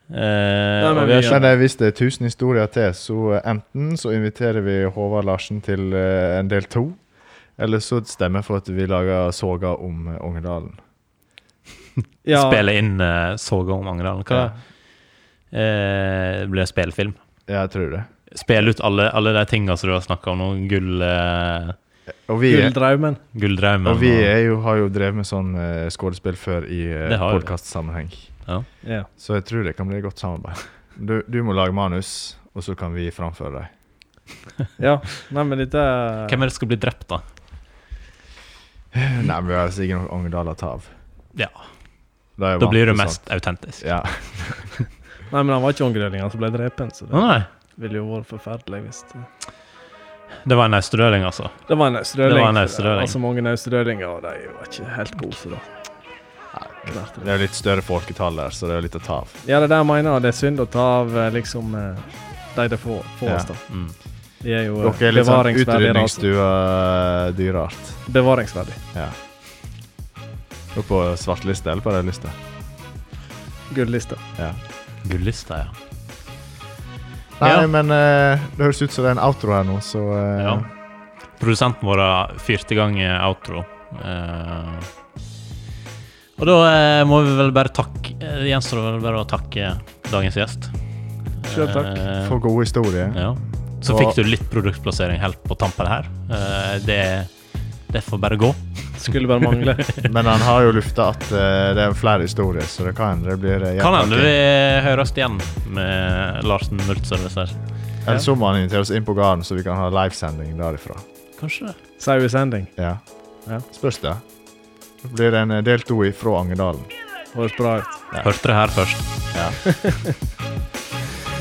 Eh, Nei, og men vi- vi har Ja. ikke, Men eh, hvis det er 1000 historier til, så eh, enten så inviterer vi Håvard Larsen til eh, en del to, eller så stemmer jeg for at vi lager soga om eh, Ongedalen. ja. spille inn uh, Soga om Angerdalen. Hva Ja. eh, det blir en spillfilm? Jeg tror det. Spille ut alle, alle de tinga som du har snakka om nå. Gull, eh, Og vi, Gulldraumen. gulldraumen. og vi er jo, har jo drevet med sånn eh, skuespill før i Det uh, har vi. podkastsammenheng. ja. Ja. Så jeg tror det kan bli et godt samarbeid. Du, du må lage manus, og så kan vi framføre dem. ja. Nei, men dette er- Hvem er det som skal bli drept, da? Nei, men vi har sikkert noen Ongedal å ta av. Ja, Da, er jeg Da vant blir det til mest sånt. autentisk. Ja. Nei, men han var ikke ångrøling, han som ble drept, så Å det nei, ville jo vært forferdelig hvis det det var en austerdøling, altså. Det var en østerøling. Det var en østerøling. Altså mange østerølinger, og de var ikke helt gode, så da klarte Det er jo litt større folketall der, så det er jo litt å ta av. Ja, det der mener jeg det er synd å ta av eh, liksom eh, de det får, får Ja. oss, da. Mm. De er jo eh, Dere er litt sånn bevaringsverdige. raser. utrydningsstua-dyreart. Bevaringsverdig. Ja. Dere på svartliste eller på rød liste? Gullista. Ja. Gullista, ja. Nei, Ja. men eh, det høres ut som det er en outro her nå, så eh, ja. Produsenten vår har fyrt i gang eh, outro. Eh, og da eh, må vi vel bare takke eh, Det gjenstår vel bare å takke dagens gjest. Selv takk. Eh, Få gode historier. Ja. Så Og- fikk du litt produktplassering helt på tampen her. Eh, Det, det får bare gå. Skulle bare mangle. Men han har jo lufta at eh, det er flere historier, så det kan hende det blir eh, Kan hende hjerteartig. vi høres igjen med Larsen Multservice her. Eller så må han invitere oss inn på gården, så vi kan ha livesending derifra. Kanskje det. Sauesending. Ja. Ja. Spørs det. Det blir en eh, del to fra Angedalen. Høres bra ut. Hørte det her først. <laughs>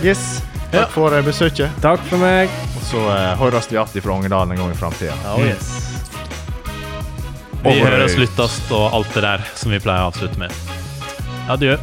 Yes. Ja. Takk for eh, besøket. Takk for meg. Og så eh, høres vi igjen fra Angedalen en gang i framtida. Oh, yes. Vi høres, lyttes og alt det der som vi pleier å avslutte med. Adjø.